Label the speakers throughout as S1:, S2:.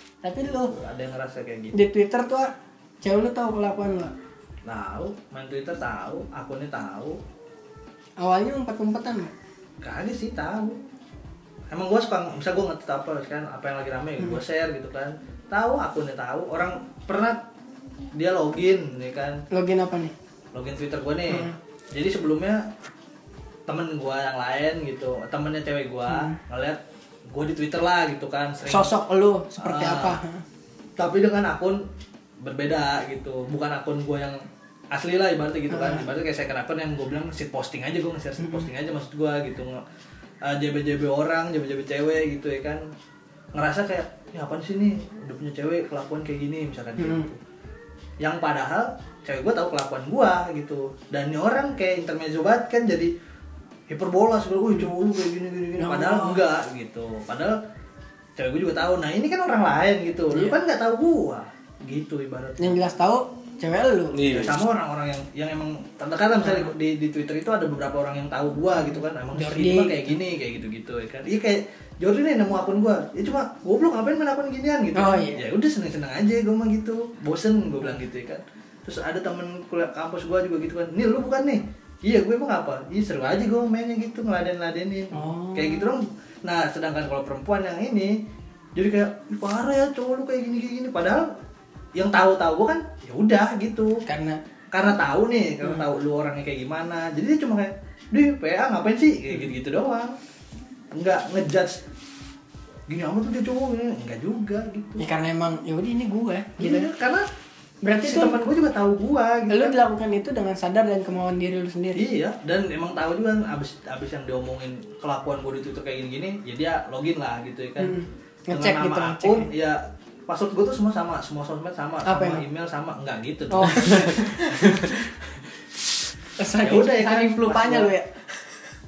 S1: tuh
S2: ada yang ngerasa kayak gitu
S1: di Twitter tuh ah, cewek lu tahu kelakuan lu.
S2: tahu main Twitter tahu akunnya tahu
S1: Awalnya umpet-umpetan Wak.
S2: kagak sih tahu emang gue suka bisa gue ngetit apa kan apa yang lagi rame
S1: Hmm.
S2: gue share gitu kan tahu akunnya tahu orang pernah dia login nih kan
S1: Login apa nih?
S2: login Twitter gue nih.
S1: Hmm.
S2: Jadi sebelumnya temen gue yang lain gitu, temennya cewek gue ngeliat gue di Twitter lah gitu kan. Sering.
S1: Hmm. Sosok lu seperti
S2: Ah.
S1: apa?
S2: Tapi dengan akun berbeda gitu, bukan akun gue yang asli lah ibaratnya gitu kan. Ibaratnya kayak second akun yang gue bilang shit posting aja gue nge-share shit posting aja maksud gue gitu. Nge- ah, JB-JB orang, JB-JB cewek gitu ya kan. Ngerasa kayak, ya apaan sih nih udah punya cewek kelakuan kayak gini misalkan
S1: Hmm.
S2: gitu yang padahal cewek gue tahu kelakuan gue gitu dan ini orang kayak intermezzo banget kan jadi hiperbola segala wih cowok lu kayak gini gini
S1: Ya
S2: gini padahal
S1: Allah.
S2: enggak gitu padahal cewek gue juga tahu nah ini kan orang lain gitu
S1: Iya.
S2: lu kan nggak tahu gue gitu ibaratnya
S1: Yang jelas tahu cewek lu.
S2: Ya, sama orang-orang yang yang emang terdekat misalnya di, di Twitter itu ada beberapa orang yang tahu gua gitu kan emang
S1: Jordi.
S2: Jordi kayak gini kayak gitu-gitu ya kan iya kayak Jordi nih nemu akun gua ya cuma goblok ngapain main akun ginian gitu
S1: Oh, iya.
S2: ya udah seneng-seneng aja gua mah gitu bosen gua bilang gitu ya kan terus ada temen kuliah kampus gua juga gitu kan nih lu bukan nih iya gue emang apa iya seru aja gua mainnya gitu ngeladen-ladenin
S1: Oh.
S2: kayak gitu dong nah sedangkan kalau perempuan yang ini jadi kayak "Ih, parah ya cowok lu kayak gini kayak gini padahal yang tahu-tahu gua kan ya udah gitu
S1: Karena
S2: karena tahu nih
S1: Hmm.
S2: karena tahu lu orangnya kayak gimana jadi dia cuma kayak di PA ngapain sih
S1: Hmm.
S2: kayak gitu gitu doang nggak ngejudge gini amat tuh dia cowok gini enggak juga gitu
S1: ya karena emang ya udah ini gue gitu.
S2: gitu karena
S1: Berarti
S2: si
S1: tuh-
S2: teman gue juga tahu gua gitu
S1: Lu
S2: kan.
S1: dilakukan itu dengan sadar dan kemauan diri lu sendiri.
S2: iya dan emang tahu juga kan, abis abis yang diomongin kelakuan gue di Twitter kayak gini gini ya dia login lah gitu ya kan
S1: Hmm. Ngecek
S2: Dengan
S1: gitu,
S2: nama
S1: ngecek.
S2: akun ya password gue tuh semua sama semua sosmed sama
S1: Apa
S2: sama
S1: emang?
S2: email sama enggak gitu
S1: Oh.
S2: Ya udah ya kan,
S1: Saking lupanya
S2: pas
S1: lu
S2: gua-
S1: ya.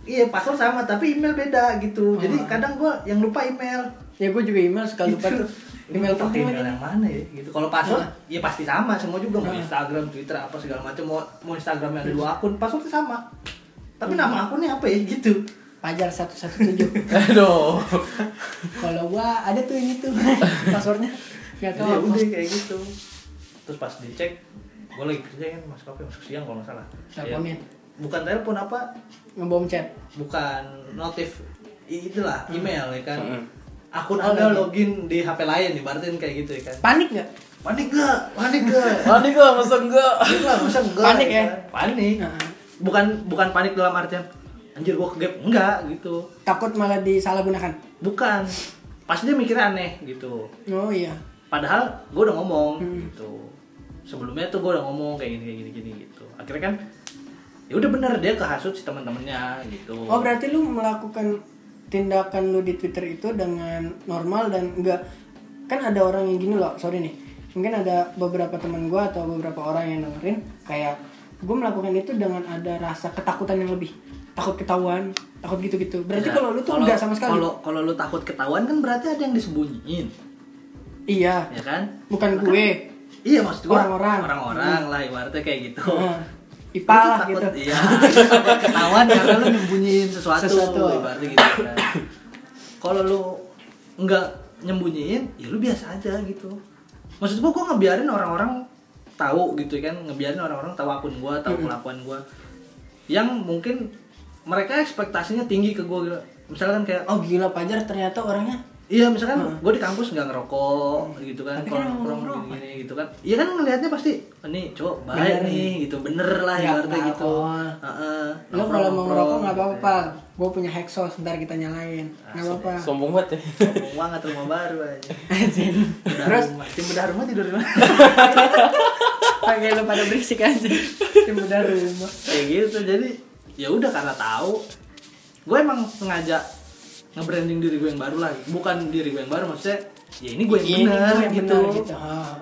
S2: Iya password sama tapi email beda gitu. Jadi
S1: Oh.
S2: kadang gua yang lupa email.
S1: Ya gue juga email suka lupa
S2: Gitu.
S1: tuh. Email
S2: Gua pakai
S1: pertama
S2: email
S1: aja.
S2: yang mana ya? Gitu. Kalau password ya pasti sama semua juga mau
S1: Nah.
S2: Instagram, Twitter apa segala macam mau mau Instagram yang ada dua akun passwordnya sama. Tapi nama akunnya apa ya gitu.
S1: Pajar 117.
S3: Aduh.
S1: Kalau gua ada tuh ini tuh passwordnya. Gak
S2: Jadi
S1: tau
S2: ya
S1: apa.
S2: udah kayak gitu. Terus pas dicek gua lagi kerja kan mas kopi masuk siang kalau nggak salah. Ya,
S1: Teleponin.
S2: bukan telepon apa
S1: Ngebom chat.
S2: bukan notif i- itulah email ya kan
S3: Hmm.
S2: akun
S1: Oh,
S2: anda
S1: login.
S2: login di HP lain ibaratnya kayak gitu ya kan
S1: Panik gak?
S2: panik gak panik gak
S3: Panik gak? Masa enggak?
S2: panik lah masa enggak
S1: Panik ya?
S2: panik
S1: Heeh.
S2: bukan bukan panik dalam artian anjir gua kegap enggak gitu
S1: Takut malah disalahgunakan.
S2: bukan pasti dia mikirnya aneh gitu
S1: Oh iya.
S2: padahal gue udah ngomong
S1: Hmm.
S2: gitu sebelumnya tuh gue udah ngomong kayak gini kayak gini gini gitu akhirnya kan ya udah bener dia kehasut si teman-temannya gitu
S1: Oh berarti lu melakukan tindakan lu di Twitter itu dengan normal dan enggak kan ada orang yang gini loh sorry nih mungkin ada beberapa teman gua atau beberapa orang yang dengerin kayak gue melakukan itu dengan ada rasa ketakutan yang lebih takut ketahuan takut gitu-gitu berarti
S2: Nah,
S1: kalau lu tuh
S2: kalau-
S1: enggak sama sekali
S2: kalau kalau lu takut ketahuan kan berarti ada yang disembunyiin
S1: iya
S2: ya kan
S1: bukan gue
S2: iya maksud gua
S1: Orang-orang.
S2: orang-orang lah ibaratnya kayak gitu
S1: Nah,
S2: Lu
S1: IPA
S2: tuh
S1: lah
S2: takut-
S1: gitu
S2: Iya, lu takut ketahuan karena lu nyembunyiin sesuatu,
S1: Sesuatu.
S2: ibaratnya gitu kan. Kalau lu nggak nyembunyiin, ya lu biasa aja gitu. Maksud gua gua ngebiarin orang-orang tahu gitu kan, ngebiarin orang-orang tahu akun gua, tahu
S1: Hmm.
S2: kelakuan gua. Yang mungkin mereka ekspektasinya tinggi ke gua. gitu. Misalkan kayak
S1: oh gila Pajar ternyata orangnya
S2: Iya misalkan gue di kampus nggak ngerokok gitu kan,
S1: Tapi
S2: kalau
S1: kan
S2: nongkrong
S1: ngerokok.
S2: gini, gitu kan. Iya kan ngelihatnya pasti ini cowok baik
S1: Bener
S2: nih gitu, bener lah
S1: Nggak
S2: ibaratnya gitu.
S1: alkohol.
S2: Heeh.
S1: lo kalau mau ngerokok nggak apa-apa
S2: gitu
S1: Pal. gue punya heksos ntar kita nyalain nggak
S2: Asik.
S1: apa-apa
S3: Sombong banget ya.
S2: ya. Ngomong banget rumah baru aja. Bedah
S1: terus
S2: rumah. tim bedah rumah tidur di mana?
S1: pakai lo pada berisik aja tim bedah rumah
S2: Kayak gitu jadi ya udah karena tahu gue emang sengaja nge-branding diri gue yang baru lah, bukan diri gue yang baru maksudnya ya ini gue
S1: Ini
S2: yang bener
S1: gue yang
S2: gitu.
S1: bener, gitu. Ah,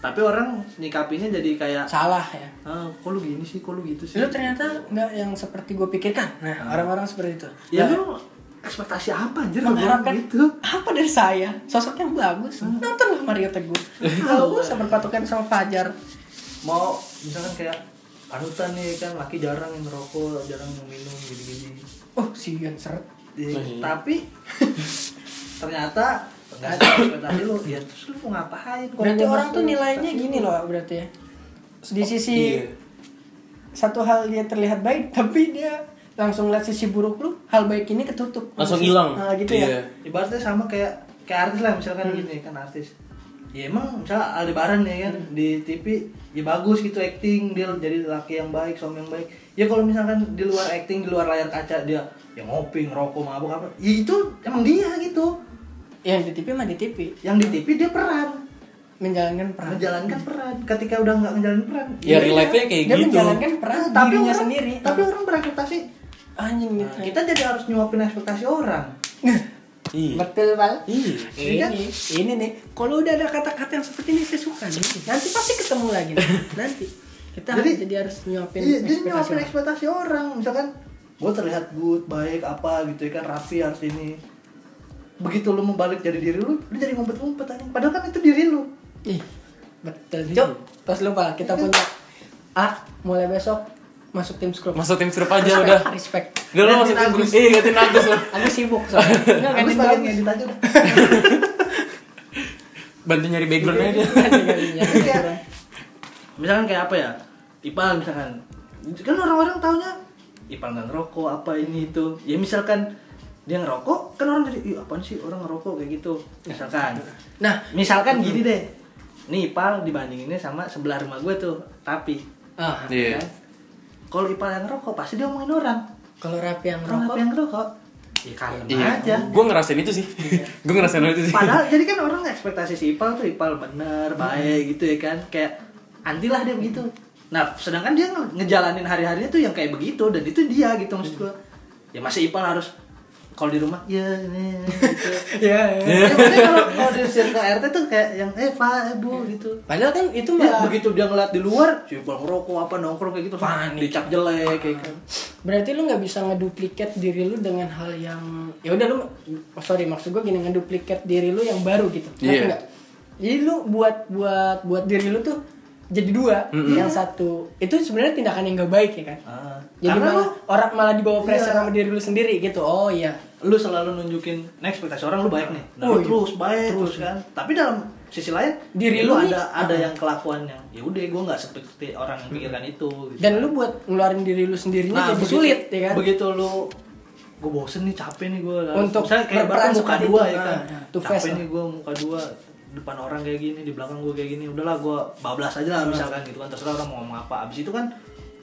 S2: Tapi orang nyikapinya jadi kayak
S1: salah ya
S2: ah, kok lu gini sih, kok lu gitu sih.
S1: lo ternyata nggak yang seperti gue pikirkan
S3: Hmm.
S1: nah orang-orang seperti itu
S2: Ya
S1: Nah,
S2: lu ekspektasi apa anjir kalau orang
S1: mengharapkan
S2: gitu?
S1: apa dari saya sosok yang bagus
S3: Hmm.
S1: nontonlah Mario Teguh aku sama berpatokan sama Fajar
S2: Mau misalkan kayak panutan nih kan laki jarang yang ngerokok, jarang yang minum gini-gini.
S1: oh si Yon seret
S2: Di-
S3: Nah, iya.
S2: Tapi ternyata nggak sesuai ekspektasi lu ya terus lu mau ngapain Kalau
S1: Berarti
S2: gua
S1: orang
S2: masuk
S1: tuh nilainya
S2: ekspektasi
S1: gini
S2: lu.
S1: loh berarti ya. Di sisi
S3: Iya.
S1: satu hal dia terlihat baik tapi dia langsung lihat sisi buruk lu, hal baik ini ketutup.
S3: Langsung hilang.
S1: Nah, gitu ya.
S3: Iya.
S2: ibaratnya sama kayak kayak artis lah misalkan gini kan artis ya emang misalnya Aldebaran ya kan di TV ya bagus gitu acting dia jadi laki yang baik suami yang baik ya kalau misalkan di luar acting di luar layar kaca dia yang ngopi ngerokok mabuk apa ya itu emang dia gitu
S1: Ya, Yang di TV mah di TV
S2: yang di TV dia peran
S1: menjalankan peran.
S2: menjalankan peran ketika udah nggak menjalankan peran
S3: Ya real life-nya kayak
S1: dia
S3: gitu.
S1: menjalankan peran
S2: tapi
S1: dirinya
S2: orang,
S1: sendiri.
S2: tapi orang berekspektasi
S1: anjing
S2: Nah,
S1: gitu.
S2: kita jadi harus nyuapin ekspektasi orang
S3: Iya.
S1: Betul, Bal.
S3: Iya.
S2: Iya.
S1: Ini, ini nih, kalau udah ada kata-kata yang seperti ini saya suka nih. Nanti pasti ketemu lagi. nih. Nanti kita jadi,
S2: Jadi-
S1: harus nyuapin
S2: Iya, jadi
S1: ekspektasi
S2: nyuapin
S1: orang.
S2: ekspektasi orang. Misalkan gue terlihat good, baik, apa gitu ya kan, rapi harus ini. Begitu lu mau balik jadi diri lu, lu jadi ngumpet-ngumpet anjing. Padahal kan itu diri lu.
S1: Ih, betul. Cuk, terus lupa kita punya A mulai besok masuk tim scrum.
S3: Masuk tim grup aja udah.
S1: Respect.
S3: Udah lu
S2: Gantiin
S3: masuk tim grup.
S2: Agus.
S3: Iya, gantiin Agus lah.
S1: Aku sibuk soalnya. Enggak
S2: Aku
S1: ganti
S2: sebagian
S1: bagus.
S2: ngedit aja dah.
S3: Bantu nyari background aja.
S2: Jadi kayak, misalkan kayak apa ya? Ipal misalkan. Kan orang-orang taunya Ipal nggak ngerokok, apa ini itu. Ya misalkan dia ngerokok, kan orang jadi, ih apaan sih orang ngerokok kayak gitu. Misalkan.
S1: Nah,
S2: Misalkan gini deh. Nih Ipal dibandinginnya sama sebelah rumah gue tuh, tapi
S1: ah,
S3: Iya.
S2: kan? Kalau Ipal yang rokok pasti dia ngomongin orang.
S1: kalau rapi yang
S2: Orang
S1: rokok
S2: apa yang rokok? Ya kalem aja.
S3: Iya. Gue ngerasain itu sih. Gue ngerasain hal itu sih.
S2: Padahal jadi kan orang ekspektasi si Ipal tuh Ipal
S1: Hmm.
S2: bener, baik gitu ya kan. Kayak anti lah dia begitu. Nah, sedangkan dia nge- ngejalanin hari-harinya tuh yang kayak begitu dan itu dia gitu maksud gue. Ya masih Ipal harus kalau di rumah ya ini gitu.
S1: Iya, iya.
S2: Ya, maksudnya kalau kalau di circle RT tuh kayak yang eh Pak, eh, Bu gitu.
S1: Padahal kan itu
S2: Ya,
S1: malah
S2: begitu dia ngeliat di luar, si Iqbal ngerokok apa nongkrong kayak gitu,
S1: Panik.
S2: dicap jelek kayak kan.
S1: berarti lu nggak bisa ngeduplikat diri lu dengan hal yang ya udah lu oh, sorry maksud gue gini ngeduplikat diri lu yang baru gitu Ngerti
S3: Iya.
S1: nggak? jadi lu buat buat buat diri lu tuh jadi dua yang satu itu sebenarnya tindakan yang gak baik ya kan
S2: Ah.
S1: jadi
S2: Karena
S1: malah orang malah dibawa pressure
S2: Iya.
S1: sama diri lu sendiri gitu oh iya
S2: lu, lu selalu nunjukin, nah ekspektasi orang lu baik nih, nah,
S1: Oh,
S2: lu
S1: iya.
S2: terus baik terus, kan. Tapi dalam sisi lain,
S1: Diri
S2: ya
S1: lu nih- Ah.
S2: ada ada yang kelakuan yang, ya udah gue nggak seperti orang
S1: Hmm.
S2: yang pikirkan itu. Gitu.
S1: dan lu buat ngeluarin diri lu sendirinya jadi sulit ya kan
S2: Nah, Begitu lu gue bosen nih capek nih gue
S1: Untuk
S2: misalnya kayak
S1: berperan
S2: bahkan muka
S1: seperti
S2: dua
S1: itu.
S2: ya kan
S1: Ah, ah. To face
S2: capek
S1: lah.
S2: nih gue muka dua depan orang kayak gini di belakang gue kayak gini udahlah gue bablas aja lah misalkan gitu kan terserah orang mau ngomong apa abis itu kan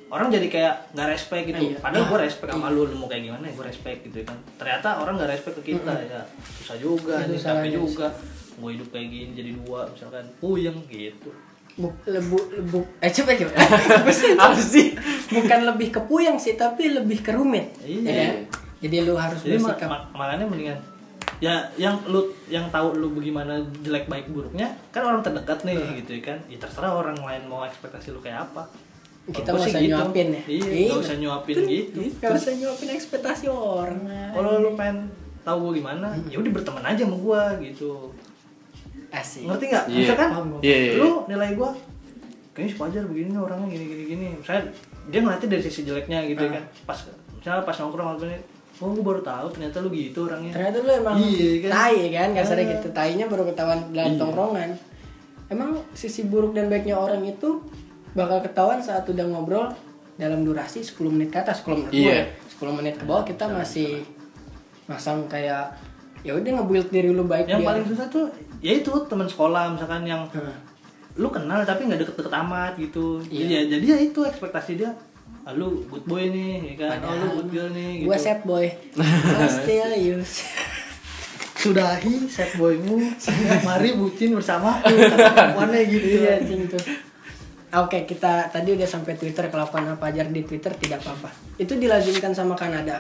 S2: orang jadi kayak nggak respect gitu
S1: Iya.
S2: padahal gue respect sama lu lu mau kayak gimana ya gue respect gitu ya kan ternyata orang nggak respect ke kita ya susah juga
S1: Itu
S2: nih capek
S1: salahnya
S2: juga gue hidup kayak gini jadi dua misalkan puyeng gitu
S1: Buk, lebu, lebu, eh coba coba
S3: Apa sih?
S1: bukan lebih ke puyeng sih tapi lebih ke rumit
S2: Iya.
S1: ya kan? jadi lu harus
S2: jadi ma-
S1: bersikap
S2: ma- makanya mendingan ya yang lu yang tahu lu bagaimana jelek baik buruknya kan orang terdekat nih gitu ya kan ya terserah orang lain mau ekspektasi lu kayak apa
S1: kita nggak
S2: Kalau gua sih
S1: usah
S2: gitu.
S1: nyuapin ya Iya.
S2: iya nggak usah nyuapin gitu
S1: nggak usah nyuapin ekspektasi orang
S2: kalau lu pengen tahu gue gimana
S1: Hmm.
S2: ya udah berteman aja sama gue gitu
S1: asik
S2: ngerti nggak
S3: Iya.
S2: misalkan
S1: Paham gua.
S3: Iya, iya, iya.
S2: lu nilai gue kayaknya si Fajar begini nih orangnya gini gini gini misalnya dia ngeliatnya dari sisi jeleknya gitu
S1: Ah.
S2: ya kan pas misalnya pas nongkrong apa nih oh gue baru tahu ternyata lu gitu orangnya
S1: ternyata lu emang
S2: Iya, kan? Iya.
S1: tai kan kasarnya
S2: Ah.
S1: gitu tainya baru ketahuan dalam tongkrongan emang sisi buruk dan baiknya orang itu bakal ketahuan saat udah ngobrol dalam durasi 10 menit ke atas kalau menurut gue
S3: Iya.
S1: ya. 10 menit ke bawah
S2: Iya,
S1: kita masih masang kayak ya udah ngebuild diri lu baik
S2: yang
S1: biar-
S2: paling susah tuh ya itu teman sekolah misalkan yang
S1: Heeh.
S2: lu kenal tapi nggak deket-deket amat gitu
S1: Iya.
S2: Iya, jadi ya itu ekspektasi dia ah, lu good boy nih ya kan oh, lu good girl nih gitu
S1: Gua set boy I still use
S2: sudahi set boymu mari bucin bersama perempuannya gitu
S1: Iya, anjing tuh. Oke, kita tadi udah sampai Twitter kelakuan apa aja di Twitter tidak apa-apa. Itu dilazimkan sama Kanada.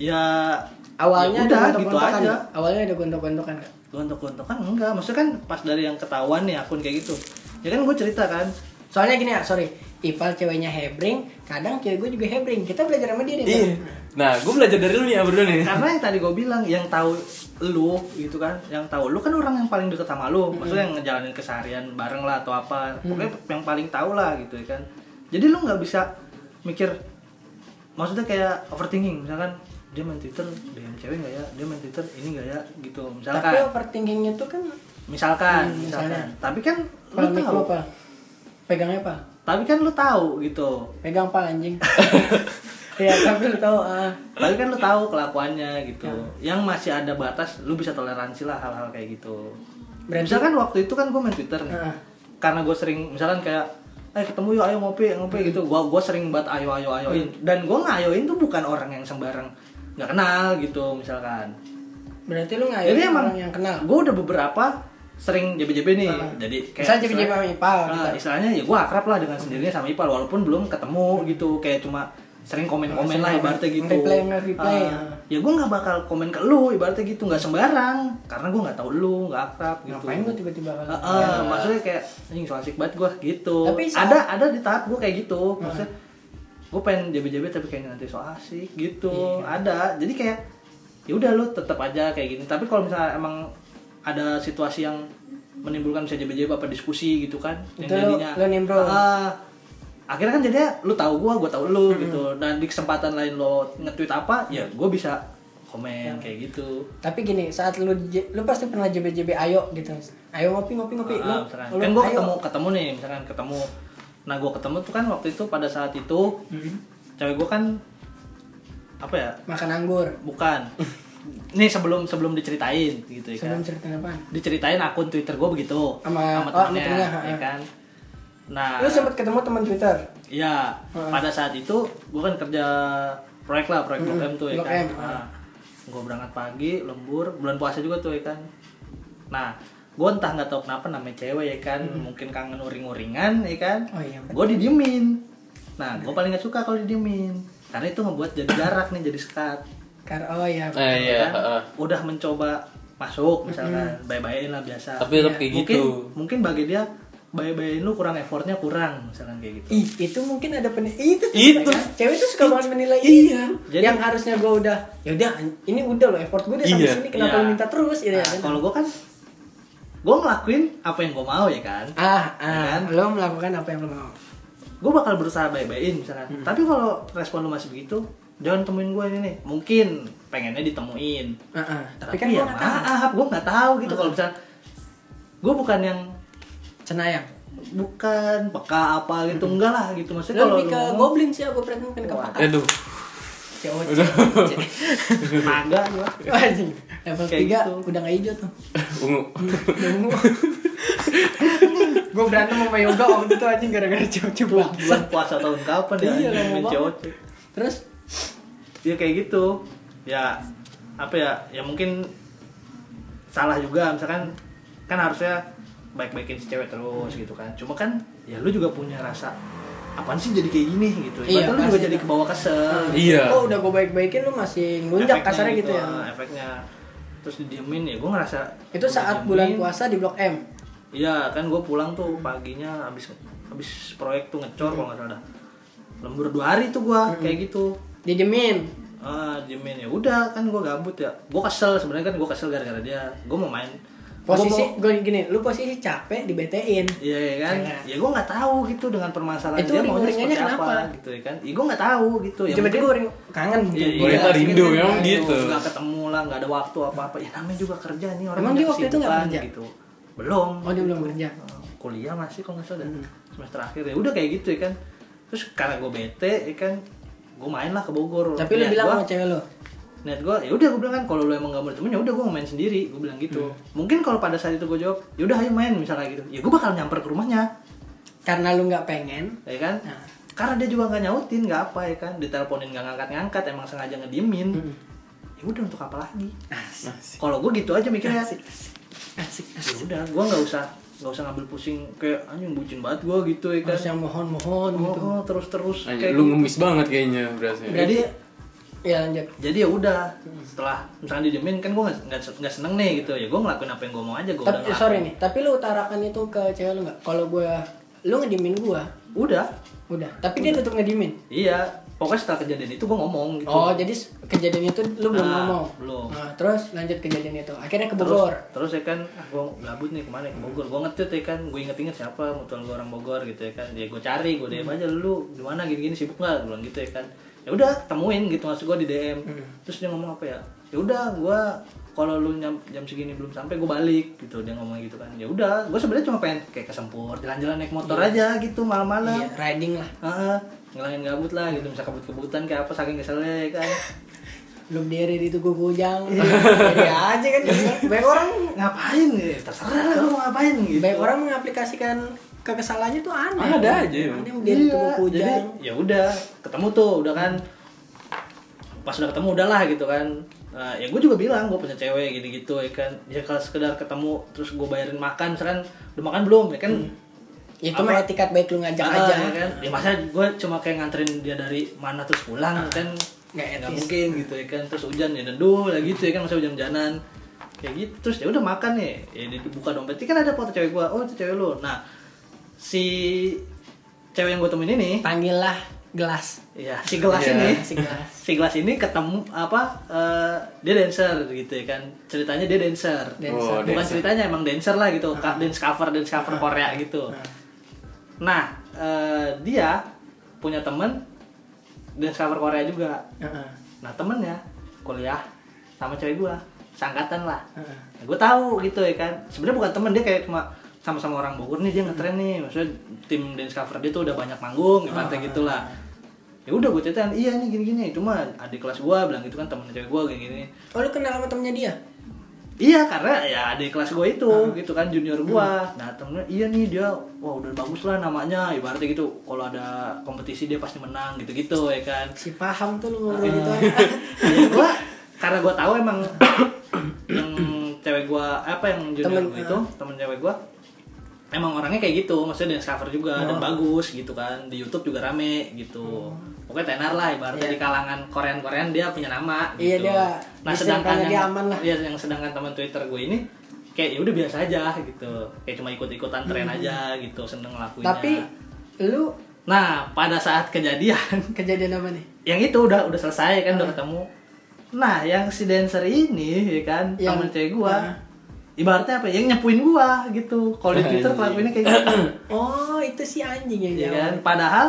S2: ya
S1: Awalnya
S2: ya udah
S1: ada
S2: gitu
S1: gontok-gontokan
S2: aja
S1: nggak? Awalnya ada gontok-gontokan nggak?
S2: gontok-gontokan enggak maksudnya kan pas dari yang ketahuan nih akun kayak gitu ya kan gue cerita kan
S1: Soalnya gini ya, sorry. Ipal ceweknya hebring, kadang cewek gue juga hebring. Kita belajar sama dia nih.
S3: Iya. Nah, gue belajar dari lu nih ya berdua nih.
S2: karena yang tadi gue bilang yang tahu lu gitu kan yang tahu lu kan orang yang paling deket sama lu maksudnya yang ngejalanin keseharian bareng lah atau apa pokoknya yang paling tahu lah gitu ya kan jadi lu nggak bisa mikir maksudnya kayak overthinking misalkan dia main Twitter DM cewek nggak ya dia main Twitter ini nggak ya gitu
S1: Tapi
S2: misalkan
S1: overthinkingnya tuh kan
S2: misalkan
S1: Hmm,
S2: misalkan
S1: misalnya.
S2: tapi kan lu
S1: pal
S2: tahu
S1: mikro pal. Pegangnya pal.
S2: tapi kan lu tahu gitu
S1: Pegang pal anjing. Iya, tapi lu tahu ah.
S2: tapi kan lu tahu kelakuannya gitu
S1: Ya.
S2: yang masih ada batas lu bisa toleransi lah hal-hal kayak gitu
S1: Berarti-
S2: misalkan waktu itu kan gue main twitter nih
S1: Heeh.
S2: karena gue sering misalkan kayak eh ketemu yuk ayo ngopi ngopi gitu gue gua sering banget ayo ayo
S1: Hmm.
S2: ayoin dan gue ngayoin tuh bukan orang yang sembarang nggak kenal gitu misalkan
S1: Berarti lu ngayoin
S2: jadi emang
S1: orang yang kenal.
S2: gue udah beberapa sering JBJB nih
S1: Heeh.
S2: jadi kayak
S1: Misalnya JBJB sama Ipal
S2: Nah,
S1: gitu.
S2: istilahnya ya gue akrab lah dengan sendirinya sama Ipal walaupun belum ketemu gitu kayak cuma sering
S1: Sering
S2: komen-komen lah
S1: komen.
S2: ibaratnya gitu
S1: Reply, nge-reply.
S2: Ah, ya gue nggak bakal komen ke lu ibaratnya gitu nggak sembarang karena gue nggak tahu lu nggak akrab gitu
S1: Ngapain gua tiba-tiba kalau?
S2: Ah, ah, maksudnya kayak anjing so asik banget gue gitu
S1: Iya. Tapi saat-
S2: ada ada di tahap gue kayak gitu maksudnya gue pengen jabe-jabe tapi kayaknya nanti so asik gitu
S1: Iya.
S2: ada jadi kayak ya udah lu tetap aja kayak gini tapi kalau misalnya emang ada situasi yang menimbulkan bisa jabe-jabe apa diskusi gitu kan
S1: Itu lu- lu nimbrung.
S2: Ah, akhirnya kan jadinya lu tahu gue gue tahu lu gitu dan di kesempatan lain lo nge-tweet apa ya gue bisa
S1: Iya.
S2: komen kayak gitu
S1: Tapi gini, saat lu j- lu pasti pernah JBJB ayo gitu. Ayo ngopi ngopi ngopi. Lu-
S2: Ah, misalkan.
S1: lu
S2: kan gue
S1: ayo.
S2: ketemu ketemu nih misalkan ketemu nah gue ketemu tuh kan waktu itu pada saat itu
S1: Mm-mm.
S2: cewek gue kan apa ya
S1: makan anggur.
S2: bukan ini sebelum sebelum diceritain gitu ya kan
S1: Sebelum cerita apa?
S2: diceritain akun twitter gue begitu
S1: Sama- oh, sama
S2: temennya,
S1: temennya, ha,
S2: ya
S1: ha.
S2: kan nah
S1: Lu sempat ketemu teman Twitter?
S2: ya
S1: Ha.
S2: pada saat itu gue kan kerja proyek lah proyek Blok
S1: Mm-mm,
S2: M tuh ya
S1: Blok
S2: kan
S1: M, ah. ha.
S2: gue berangkat pagi lembur bulan puasa juga tuh ya kan nah gue entah nggak tahu kenapa namanya cewek ya kan mungkin kangen uring-uringan ya kan
S1: Hmm. Oh iya.
S2: gue didiemin nah gue paling gak suka kalau didiemin karena itu ngebuat jadi jarak nih jadi sekat
S1: Kar oh iya.
S3: Eh iya,
S2: kan?
S3: heeh.
S2: udah mencoba masuk misalkan
S1: Hmm.
S2: bye-byein lah biasa
S3: Tapi tetap kayak
S2: mungkin
S3: gitu.
S2: mungkin bagi dia bye-byein lu kurang effortnya kurang misalkan kayak gitu
S1: Ih, itu mungkin ada pen itu tuh,
S3: Itu.
S1: ya. cewek tuh suka banget menilai
S3: Iya.
S2: Jadi-
S1: yang harusnya gue udah ya udah ini udah loh effort gue udah sampai
S3: Iya.
S1: sini kenapa
S2: Iya.
S1: lu minta terus gitu ya
S2: Nah,
S1: kan?
S2: kalau gue kan gue ngelakuin apa yang gue mau ya kan
S1: ah
S2: Ya
S1: ah
S2: kan?
S1: lo melakukan apa yang lo mau
S2: gue bakal berusaha bye-byein misalkan
S1: Hmm.
S2: tapi kalau respon lu masih begitu jangan temuin gue ini nih mungkin pengennya ditemuin
S1: ah, ah. tapi,
S2: tapi,
S1: kan gue
S2: ya
S1: nggak tahu Hmm.
S2: maaf gue nggak tahu gitu kalau misalkan gue bukan yang
S1: cenayang
S2: bukan peka apa gitu enggak lah gitu maksudnya
S1: lo
S2: kalau
S1: Hmm. lebih
S2: lu
S1: ke
S2: ngomong,
S1: goblin sih aku pernah mungkin ke
S2: Wah.
S1: pakar
S3: Aduh.
S1: cowok
S2: naga gua.
S1: anjing level
S2: Kayak
S1: tiga
S2: gitu.
S1: udah nggak hijau tuh
S3: Ungu.
S1: gue berantem sama yoga waktu itu anjing gara-gara cowok-cowok bangsa
S2: bulan puasa tahun kapan ya
S1: Iya, lama
S2: main
S1: banget.
S2: cewek
S1: terus
S2: ya kayak gitu ya apa ya ya mungkin salah juga misalkan kan harusnya baik-baikin si cewek terus gitu kan cuma kan ya lu juga punya rasa apaan sih jadi kayak gini gitu
S1: Iya,
S2: Ibaratnya lu juga
S1: pasti.
S2: jadi kebawa kesel
S3: Iya.
S1: oh udah gue baik-baikin lo masih ngelunjak
S2: Ah, Efeknya
S1: kasarnya gitu ya
S2: ah, efeknya terus didiemin ya gue ngerasa
S1: itu
S2: gua
S1: saat
S2: didiemin.
S1: bulan puasa di blok M
S2: Iya kan gue pulang tuh paginya abis abis proyek tuh ngecor kalau nggak salah dah. lembur dua hari tuh gue kayak gitu
S1: didemin
S2: ah diemin ya udah kan gue gabut ya gue kesel sebenarnya kan gue kesel gara-gara dia gue mau main Gua
S1: posisi
S2: mau-
S1: gue gini lu posisi capek di BT-in
S2: iya ya kan
S1: Ya.
S2: ya gue nggak tahu gitu dengan permasalahan
S1: Itu
S2: dia mau
S1: ring-ringannya
S2: seperti apa
S1: kenapa?
S2: gitu ya kan ya gue nggak tahu gitu ya
S1: tiba-tiba
S2: mungkin-
S1: gue kangen gitu.
S2: Iya,
S1: mungkin
S2: iya,
S3: Boleh lah, rindu,
S2: mungkin
S3: memang
S2: kan,
S3: gitu.
S2: nggak ketemu lah nggak ada waktu apa apa ya namanya juga kerja nih orang
S1: Emang
S2: punya
S1: dia waktu itu nggak
S2: kesibukan
S1: kerja?
S2: gitu belum Eh,
S1: oh dia belum kerja Hmm.
S2: kuliah masih kalau nggak salah semester akhir ya udah kayak gitu ya kan terus karena gue bete ya kan gue main lah ke Bogor
S1: tapi lu
S2: Niat
S1: bilang
S2: Iya, gua-
S1: sama cewek lu
S2: niat gue ya udah gue bilang kan kalau lu emang gak mau temen ya udah gue mau main sendiri gue bilang gitu mungkin kalau pada saat itu gue jawab ya udah ayo main misalnya gitu ya gue bakal nyamper ke rumahnya
S1: karena lu nggak pengen
S2: ya kan
S1: Nah.
S2: karena dia juga nggak nyautin nggak apa ya kan diteleponin nggak ngangkat-ngangkat emang sengaja ngediemin
S1: Hmm.
S2: ya udah untuk apa lagi
S1: Iya.
S3: Asik.
S2: kalau gue gitu aja mikirnya ya
S1: asik asik
S2: udah gue nggak usah nggak usah ngambil pusing kayak anjing bucin banget gue gitu ya kan
S1: harus yang mohon mohon
S2: oh,
S1: gitu
S2: oh, terus-terus
S3: Anjir,
S2: kayak
S3: lu
S2: gitu.
S3: ngemis banget kayaknya berasnya.
S1: berarti
S2: Jadi-
S1: ya lanjut
S2: jadi ya udah setelah misalnya didiemin kan gue nggak nggak seneng nih gitu ya gue ngelakuin apa yang gue mau aja gue udah
S1: tapi sorry nih tapi lu utarakan itu ke cewek lu nggak kalau gue lu ngedimin gue
S2: udah
S1: udah tapi dia tetap ngedimin
S2: iya pokoknya setelah kejadian itu gue ngomong gitu
S1: oh jadi s- kejadian itu lu belum
S2: Nah,
S1: ngomong
S2: belum.
S1: Nah, terus lanjut kejadian itu akhirnya ke
S2: terus
S1: Bogor
S2: terus ya kan gue gabut nih kemana ya, ke Bogor gue ngetit ya kan gue inget-inget siapa mutual gue orang Bogor gitu ya kan ya gue cari gue DM aja lu gimana gini-gini sibuk nggak gue bilang gitu ya kan ya udah temuin gitu maksud gue di DM
S1: Hmm.
S2: terus dia ngomong apa ya ya udah gue kalau lu nyam- jam segini belum sampai gue balik gitu dia ngomong gitu kan ya udah gue sebenarnya cuma pengen kayak kesempur jalan-jalan naik motor aja gitu malam-malam
S1: Iya, riding lah.
S2: Heeh, ngilangin gabut lah gitu bisa kebut-kebutan kayak apa saking keselnya ya kan
S1: Belum diri di tugu bujang.
S2: Iya.
S1: Jadi aja kan.
S2: Gitu.
S1: Banyak orang
S2: ngapain ya terserah lah lu mau ngapain gitu
S1: banyak orang mengaplikasikan kekesalannya tuh aneh.
S3: Ada aja, emang.
S1: Ada yang berdiri di
S2: Iya.
S1: tugu
S2: jadi
S1: bujang.
S2: ya udah ketemu tuh udah kan pas udah ketemu udahlah gitu kan Nah, ya gue juga bilang gue punya cewek gitu gitu ya kan ya kalau sekedar ketemu terus gue bayarin makan misalkan udah makan belum ya kan
S1: Itu mah etikat baik lu ngajak
S2: Ah,
S1: Hmm. aja.
S2: ya kan ya masa gue cuma kayak nganterin dia dari mana terus
S1: Ah.
S2: pulang kan
S1: Nggak
S2: nggak
S1: etis.
S2: mungkin gitu ya kan terus hujan ya neduh lagi gitu ya kan masa hujan-hujanan kayak gitu terus ya udah makan ya ya dibuka dompet Ini kan ada foto cewek gue oh itu cewek lu nah si cewek yang gue temuin ini
S1: Panggillah gelas. Nah,
S2: ya si gelas
S3: Iya.
S2: ini
S1: Si gelas.
S2: si gelas ini ketemu apa eh, dia dancer gitu ya kan ceritanya dia dancer
S1: Dancer.
S3: Oh,
S2: bukan
S3: dancer.
S2: ceritanya emang dancer lah gitu Ka- dance cover dance cover Korea gitu
S3: Iya.
S2: nah eh, dia punya temen dance cover Korea juga
S1: Heeh.
S2: nah temennya kuliah sama cewek gua sangkatan lah
S1: Heeh.
S2: gue tahu gitu ya kan sebenarnya bukan temen dia kayak cuma sama-sama orang Bogor nih dia ngetren nih maksudnya tim dance cover dia tuh udah banyak manggung ibaratnya gitulah ya udah gue ceritain iya nih gini-gini cuma adik kelas gue bilang gitu kan temen cewek gue gini-gini
S1: Oh, lu kenal sama temennya dia?
S2: Iya karena ya adik kelas gue itu gitu kan junior gue. Nah temennya iya nih dia wah udah bagus lah namanya ibaratnya gitu. Kalau ada kompetisi dia pasti menang gitu-gitu ya kan.
S1: Si paham tuh lu ngobrol
S2: Iya.
S1: gitu. itu.
S2: Ya, gua karena gue tahu emang yang cewek gue apa yang junior
S1: Temen, Ah.
S2: gue itu temen cewek gue emang orangnya kayak gitu maksudnya dance cover juga
S1: Oh.
S2: dan bagus gitu kan di YouTube juga rame gitu pokoknya tenar lah ibaratnya
S1: Iya.
S2: di kalangan Korean Korean dia punya nama
S1: Iya,
S2: gitu
S1: dia-
S2: nah
S1: di
S2: sedangkan
S1: circle-nya
S2: yang,
S1: dia aman lah.
S2: iya, yang sedangkan teman Twitter gue ini kayak ya udah biasa aja gitu kayak cuma ikut-ikutan tren aja gitu seneng ngelakuinnya
S1: Hmm. Tapi lu
S2: nah pada saat kejadian
S1: kejadian apa nih?
S2: yang itu udah udah selesai kan
S1: Ah.
S2: udah ketemu nah yang si dancer ini ya kan
S1: Yang-
S2: temen cewek gua
S1: Ah.
S2: ibaratnya apa ya, yang nyepuin gua gitu kalau di
S3: Ah,
S2: twitter
S3: iya.
S2: kelakuinnya kayak gitu
S1: Oh, itu si anjing yang
S2: ya
S1: dia.
S2: kan padahal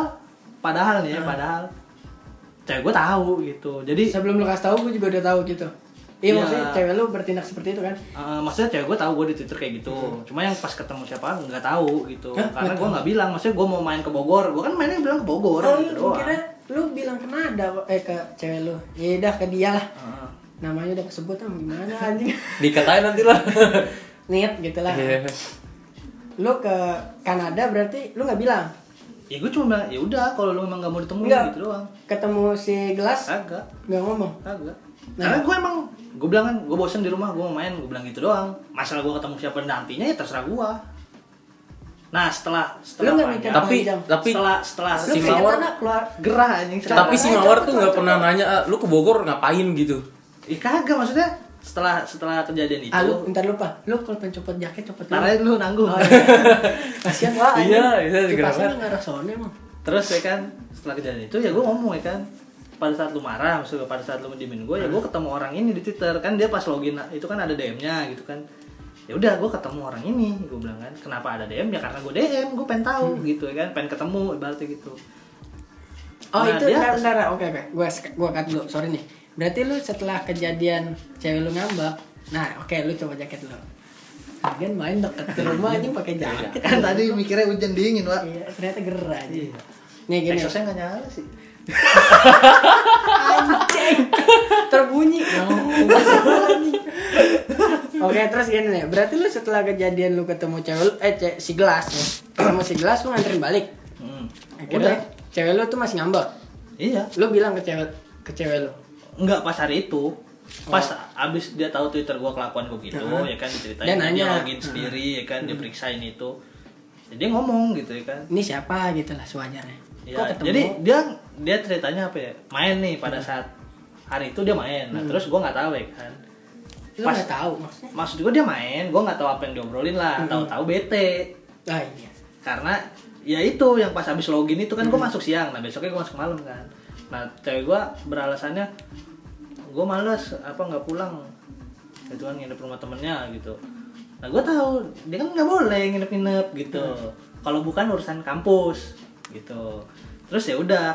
S2: padahal nih ya
S1: Ah.
S2: padahal cewek gua tahu gitu jadi
S1: Sebelum lu kasih tahu, gue juga udah tahu gitu. Iya,
S2: Iya.
S1: maksudnya cewek lu bertindak seperti itu kan?
S2: eh, maksudnya cewek gua tahu gua di twitter kayak gitu cuma yang pas ketemu siapa nggak tahu gitu
S1: Hmm. Hah?
S2: karena
S1: Nggak
S2: gua nggak bilang maksudnya gua mau main ke Bogor gua kan mainnya bilang ke Bogor
S1: Oh,
S2: gitu
S1: lu
S2: doang
S1: kira lu bilang ke Nada eh ke cewek lu. Ya udah ke dia lah.
S2: Heeh.
S1: Namanya udah kesebut sama gimana anjing.
S3: Dikatain nanti lah.
S1: Niat gitu lah.
S3: Iya.
S1: Lu ke Kanada berarti lu nggak bilang
S2: ya gua cuma bilang, ya udah kalau lu emang nggak mau ditemuin
S1: Nggak.
S2: gitu doang
S1: ketemu si gelas
S2: agak
S1: nggak ngomong.
S2: Kagak.
S1: Nah.
S2: Karena gue emang gue bilang kan gue bosen di rumah gue mau main gue bilang gitu doang. Masalah gue ketemu siapa nantinya ya terserah gue. Nah setelah setelah
S1: Lu nggak
S2: apa
S1: mikir
S2: ya?
S3: tapi
S1: Panjang.
S3: tapi
S2: setelah setelah
S1: Lu
S3: Si
S1: kayaknya
S3: Mawar-
S1: anak keluar
S2: gerah anjing.
S3: tapi si
S1: aja, cepet
S3: Mawar tuh
S1: lah,
S3: nggak
S1: cepet
S3: pernah nanya "Ah, lu ke Bogor ngapain gitu.
S2: Ih kagak maksudnya setelah setelah kejadian itu.
S1: Ah, lu bentar lupa. Lu kalau pengen copot jaket copot dulu.
S2: Tarik lu nanggung.
S1: Oh, iya. Kasihan lah. anjing.
S3: Iya, iya, segera
S1: Kipasnya
S3: banget.
S1: nggak rasanya emang.
S2: Terus ya kan setelah kejadian itu ya gue ngomong ya kan pada saat lu marah maksudnya pada saat lu mendiemin gue ya gue ketemu orang ini di Twitter kan dia pas login itu kan ada DM-nya gitu kan ya udah gue ketemu orang ini gue bilang kan kenapa ada DM ya karena gue DM gue pengen tahu gitu ya kan pengen ketemu ibaratnya gitu
S1: Oh
S2: Nah,
S1: itu
S2: dia-
S1: bentar, bentar. oke oke gua sk- gua cut dulu sorry nih berarti lu setelah kejadian cewek lu ngambek nah oke lu coba jaket lu Lagian main deket ke rumah anjing pakai jaket
S2: kan tadi mikirnya hujan dingin pak
S1: iya ternyata gerah anjing
S2: Iya.
S1: nih gini
S2: Exosnya nggak nyala sih
S1: anjing terbunyi anjing. oke terus gini nih berarti lu setelah kejadian lu ketemu cewek lu eh ce- si gelas ya ketemu si gelas lu nganterin balik
S2: Hmm.
S1: akhirnya cewek lu tuh masih ngambek
S2: iya
S1: lu bilang ke cewek ke cewek lu
S2: nggak pas hari itu pas abis dia tahu twitter gua kelakuan gua gitu ya
S1: Oh. Dia
S2: kan diceritain
S1: nanya.
S2: login sendiri ya kan dia periksain itu ya, dia ngomong gitu ya kan
S1: ini siapa gitu lah sewajarnya
S2: Ya, jadi dia dia ceritanya apa ya main nih pada saat hari itu dia main nah terus gua nggak tahu ya kan
S1: lu
S2: pas-
S1: nggak tahu maksudnya
S2: maksud gua dia main gua nggak tahu apa yang diobrolin lah tahu-tahu bete
S1: ah iya
S2: karena ya itu yang pas habis login itu
S1: Hmm.
S2: kan gue masuk siang nah besoknya gue masuk malam kan nah cewek gue beralasannya gue males apa nggak pulang gitu kan nginep rumah temennya gitu nah gue tahu dia kan nggak boleh nginep-nginep gitu
S1: Hmm.
S2: kalau bukan urusan kampus gitu terus ya udah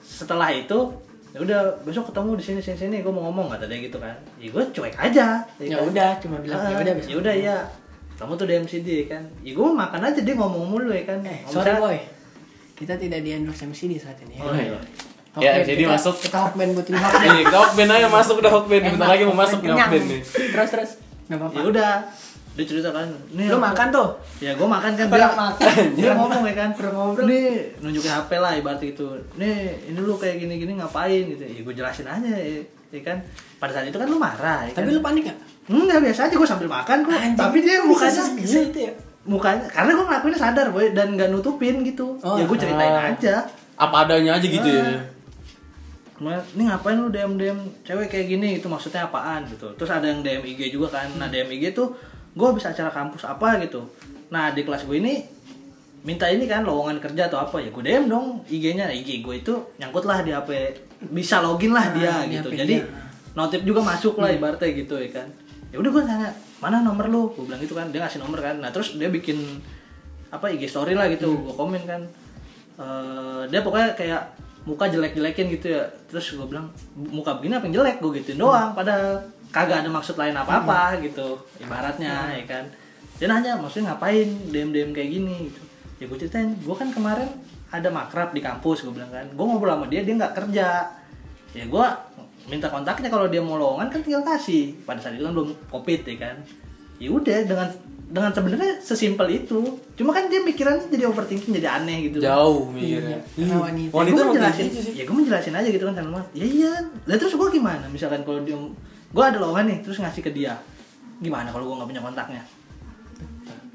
S2: setelah itu ya udah besok ketemu di sini sini sini gue mau ngomong kata dia gitu kan ya gue cuek aja
S1: ya
S2: kan.
S1: udah cuma bilang ya
S2: Ah,
S1: udah besok.
S2: ya udah ya kamu tuh di MCD kan ya gue makan aja dia ngomong mulu ya kan
S1: eh
S2: Kalau
S1: sorry
S2: misalnya-
S1: boy kita tidak di endorse MCD saat ini ya.
S2: Oh, iya.
S1: Hokben,
S3: Ya, jadi
S1: kita-
S3: masuk.
S1: kita hokben butuhin hokben
S3: Ini kita hokben aja masuk udah hokben. Bentar lagi mau masuk nih
S1: Kenyang.
S3: hokben nih.
S1: terus terus nggak apa-apa
S2: ya udah dia cerita kan nih
S1: lu
S2: aku-
S1: makan tuh
S2: ya gue makan kan
S1: Pernah
S2: dia
S1: makan.
S2: dia ngomong ya kan
S1: Pernah ngobrol.
S2: nih nunjukin HP lah ibarat itu nih ini lu kayak gini gini ngapain gitu ya gue jelasin aja ya, ya kan pada saat itu kan lu marah ya
S1: tapi
S2: kan?
S1: lu panik nggak
S2: enggak biasa aja gue sambil makan kok
S1: Anjing,
S2: tapi dia
S1: bisa
S2: mukanya
S1: se- bisa
S2: iya,
S1: itu ya?
S2: mukanya karena gue ngelakuinnya sadar boy dan gak nutupin gitu
S1: Oh,
S2: ya gue ceritain
S3: ah.
S2: aja
S3: Apa adanya aja gitu ya.
S2: Nah, ini ngapain lu DM DM cewek kayak gini itu maksudnya apaan gitu terus ada yang DM IG juga kan nah DM IG tuh gue habis acara kampus apa gitu nah di kelas gue ini minta ini kan lowongan kerja atau apa ya gue DM dong IG-nya IG gue itu nyangkut lah di HP bisa login lah dia
S1: Nah, di
S2: gitu
S1: HP
S2: jadi
S1: dia.
S2: notif juga masuk lah ibaratnya gitu ya kan ya udah gue tanya mana nomor lu gue bilang gitu kan dia ngasih nomor kan nah terus dia bikin apa IG story lah gitu gue komen kan Eh, dia pokoknya kayak muka jelek-jelekin gitu ya terus gue bilang muka begini apa yang jelek gue gituin doang padahal kagak ada maksud lain apa-apa gitu ibaratnya ya kan dia nanya maksudnya ngapain DM-DM kayak gini gitu ya gue ceritain gue kan kemarin ada makrab di kampus gue bilang kan gue ngobrol sama dia dia nggak kerja ya gue minta kontaknya kalau dia mau lowongan kan tinggal kasih pada saat itu kan belum covid ya kan ya udah dengan dengan sebenarnya sesimpel itu cuma kan dia pikirannya jadi overthinking jadi aneh gitu
S3: Jauh mikirnya.
S1: Karena wanita.
S2: gue
S3: Wanita emang kayak
S2: menjelasin,
S3: gitu sih.
S2: ya gue menjelasin aja gitu kan sama Mas. ya iya lah terus gue gimana misalkan kalau dia gue ada lowongan nih terus ngasih ke dia gimana kalau gue nggak punya kontaknya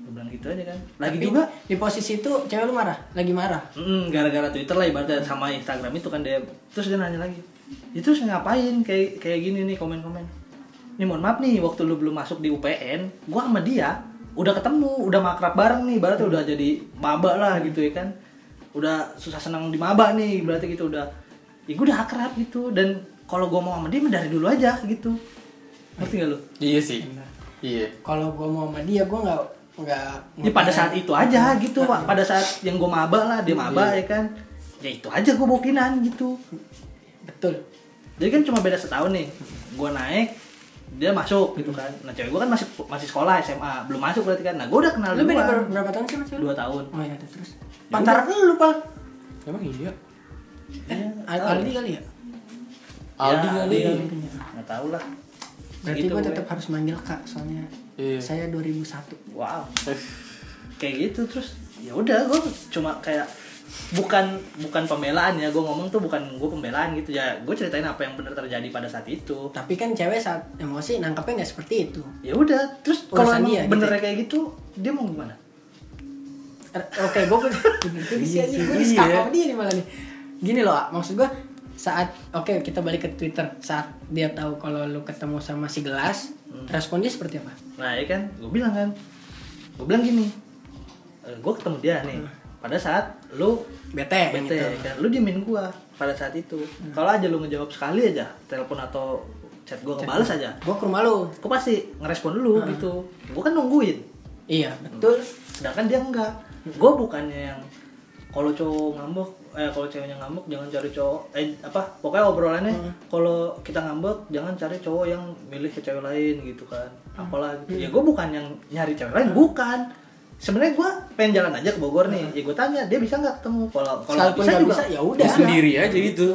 S2: gue bilang gitu aja kan lagi
S1: Tapi
S2: juga
S1: di posisi itu cewek lu marah lagi marah
S2: Mm, gara-gara Twitter lah ibaratnya sama Instagram itu kan dia terus dia nanya lagi itu ngapain kayak kayak gini nih komen-komen nih mohon maaf nih waktu lu belum masuk di UPN gua sama dia udah ketemu udah makrab bareng nih berarti udah jadi maba lah gitu ya kan udah susah senang di maba nih berarti gitu udah ya gua udah akrab gitu dan kalau gua mau sama dia mah dari dulu aja gitu ngerti gak lu?
S3: Iya sih. Iya.
S1: kalau gua mau sama dia gua nggak nggak Hmm.
S2: Ya pada saat itu aja gitu pak pada saat yang gua maba lah dia maba ya kan ya itu aja gua bokinan gitu
S1: betul
S2: jadi kan cuma beda setahun nih gue naik dia masuk gitu kan nah cewek gue kan masih masih sekolah SMA belum masuk berarti kan nah gue udah kenal
S1: lu beda
S2: duluan.
S1: ber- berapa tahun sih sama cewek lu?
S2: dua tahun Ya
S1: oh iya tuh, terus pantaran lu pal
S3: Emang
S1: eh
S3: iya.
S2: Iya,
S1: Al-
S2: tahu.
S1: Aldi kali ya Iya,
S3: Aldi
S2: Ya,
S3: kali.
S2: Aldi. nggak tahu lah
S1: berarti
S2: Gitu,
S1: gua
S2: gue.
S1: tetap harus manggil kak soalnya
S3: Iya.
S1: saya 2001
S2: wow kayak gitu terus ya udah gue cuma kayak bukan bukan pembelaan ya gue ngomong tuh bukan gue pembelaan gitu ya gue ceritain apa yang benar terjadi pada saat itu
S1: tapi kan cewek saat emosi nangkapnya nggak seperti itu
S2: ya udah terus kalau
S1: Urusan
S2: emang
S1: dia, gitu
S2: benernya
S1: ya.
S2: kayak gitu dia mau gimana
S1: Er, Oke, gue pun bener juga sih anjing. Gua di
S3: Iya.
S1: stuck sama dia nih malah nih. Gini loh, Ak. maksud gue saat oke kita balik ke Twitter saat dia tahu kalau lu ketemu sama si gelas,
S2: Hmm.
S1: respon dia seperti apa?
S2: Nah ya kan, gue bilang kan, gue bilang gini, gue ketemu dia nih. Pada saat lu
S1: Bete,
S2: bete,
S1: gitu.
S2: ya kan? lu diemin gue pada saat itu. Kalau aja lu ngejawab sekali aja, telepon atau chat gue ngebales aja,
S1: Gue ke rumah lu.
S2: gue pasti ngerespon dulu gitu. Gue kan nungguin,
S1: Iya, betul.
S2: sedangkan dia enggak. Gue bukannya yang kalau cowok ngambek, eh kalau ceweknya ngambek jangan cari cowok, eh apa? Pokoknya obrolannya
S1: Hmm.
S2: kalau kita ngambek jangan cari cowok yang milih ke cewek lain gitu kan.
S1: Hmm.
S2: Apalah gitu. Ya gue bukan yang nyari cewek lain, bukan. Sebenarnya gue pengen jalan aja ke Bogor nih. Ya gue tanya dia bisa nggak ketemu? Kalau kalau nggak
S1: Hmm. Sekalipun
S2: bisa
S1: nggak
S2: juga
S1: bisa, ya udah.
S3: Dia sendiri aja gitu.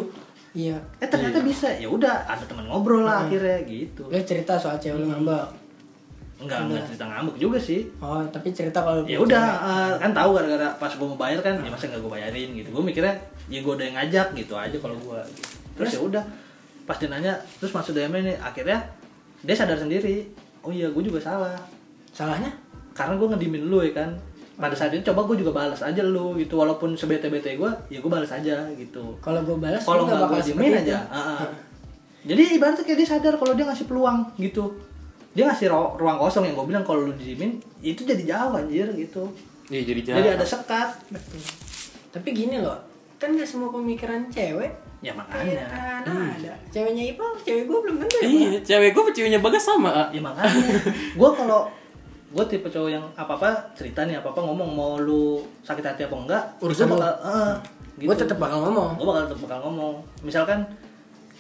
S1: Iya. Hmm. Eh.
S2: Eh ternyata bisa. Ya udah, ada teman ngobrol lah akhirnya gitu.
S1: Lu cerita soal cewek lu
S2: Hmm.
S1: ngambek.
S2: Enggak
S1: Iya.
S2: enggak cerita ngambek juga sih.
S1: Oh, tapi cerita kalau
S2: ya udah eh, kan tahu gara-gara pas gue mau bayar kan ya masa nggak gue bayarin gitu gue mikirnya ya gue udah yang ngajak gitu aja kalau gue gitu. terus ya udah pas dia nanya terus masuk DM ini akhirnya dia sadar sendiri oh iya gue juga salah
S1: salahnya
S2: karena gue ngedimin lu ya kan pada saat itu coba gue juga balas aja lu gitu walaupun sebete bete gue ya gue balas aja gitu
S1: kalau gue balas lu
S2: kalau nggak
S1: bakal
S2: gue
S1: seperti
S2: diemin
S1: itu.
S2: aja ah, ah. jadi ibaratnya kayak dia sadar kalau dia ngasih peluang gitu dia ngasih ru- ruang kosong yang gue bilang kalau lu diemin itu jadi jauh anjir gitu
S3: Iya jadi
S1: Ya.
S2: jadi
S3: jahat.
S2: ada sekat
S1: Betul. Tapi gini loh, kan gak semua pemikiran cewek kayak
S2: ya makanya
S1: kan ada. Ceweknya Ipal, cewek gue belum tentu ya, Pal.
S3: Iya, cewek gue ceweknya bagas sama. ah.
S2: ya makanya gue kalau gue tipe cowok yang apa apa cerita nih apa apa ngomong mau lu sakit hati apa enggak
S1: Urusan
S2: gua
S1: lu.
S2: bakal, eh, gitu.
S1: Gue tetap bakal ngomong.
S2: gue bakal tetap bakal ngomong misalkan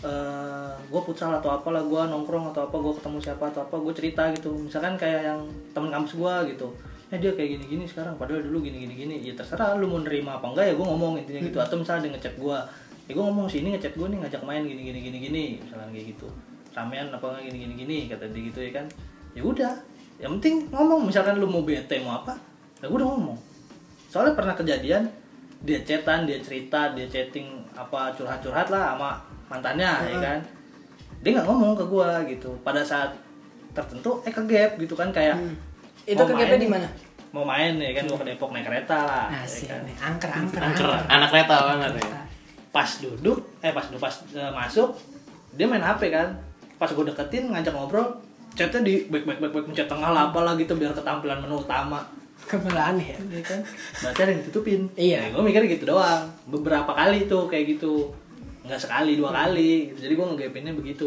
S2: eh gue futsal atau apalah gue nongkrong atau apa gue ketemu siapa atau apa gue cerita gitu misalkan kayak yang temen kampus gue gitu ya dia kayak gini gini sekarang padahal dulu gini gini gini ya terserah lu mau nerima apa enggak ya gue ngomong intinya gitu atau misalnya dia ngechat gue ya gue ngomong sini ngechat gue nih ngajak main gini gini gini gini misalkan kayak gitu ramean apa enggak gini gini gini kata dia gitu ya kan ya udah yang penting ngomong misalkan lu mau bete mau apa ya gue udah ngomong soalnya pernah kejadian dia chatan dia cerita dia chatting apa curhat-curhat lah sama mantannya ya kan dia nggak ngomong ke gua gitu pada saat tertentu eh ke gap gitu kan kayak
S1: Hmm. Itu ke
S2: mau
S1: gapnya
S2: main-
S1: di mana?
S2: mau main ya kan gua ke Depok naik kereta lah ya
S1: Asik
S2: kan.
S1: nih, angker angker.
S3: Angker, anak kereta banget ya.
S2: pas duduk eh pas pas eh, masuk dia main HP kan pas gue deketin ngajak ngobrol chatnya di back back back back mencet tengah lah apalah gitu biar ketampilan menu utama
S1: Kebelaan ya.
S2: ya kan berarti ada yang ditutupin
S1: Iya.
S2: gue mikir gitu doang beberapa kali tuh kayak gitu nggak sekali dua kali gitu. jadi gue ngegapinnya begitu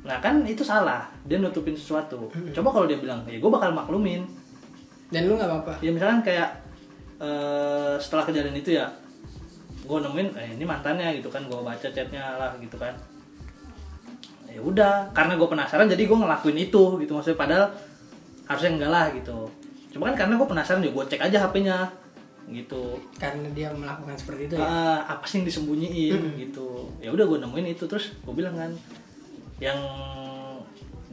S2: nah kan itu salah dia nutupin sesuatu coba kalau dia bilang ya gue bakal maklumin
S1: Dan lu nggak apa-apa.
S2: ya misalkan kayak eh, setelah kejadian itu ya gue nemuin eh, ini mantannya gitu kan gue baca chatnya lah gitu kan ya udah karena gue penasaran jadi gue ngelakuin itu gitu maksudnya padahal harusnya enggak lah gitu cuma kan karena gue penasaran ya gue cek aja HP-nya gitu
S1: Karena dia melakukan seperti itu ya.
S2: Ah, apa sih yang disembunyiin gitu ya udah gue nemuin itu terus gue bilang kan yang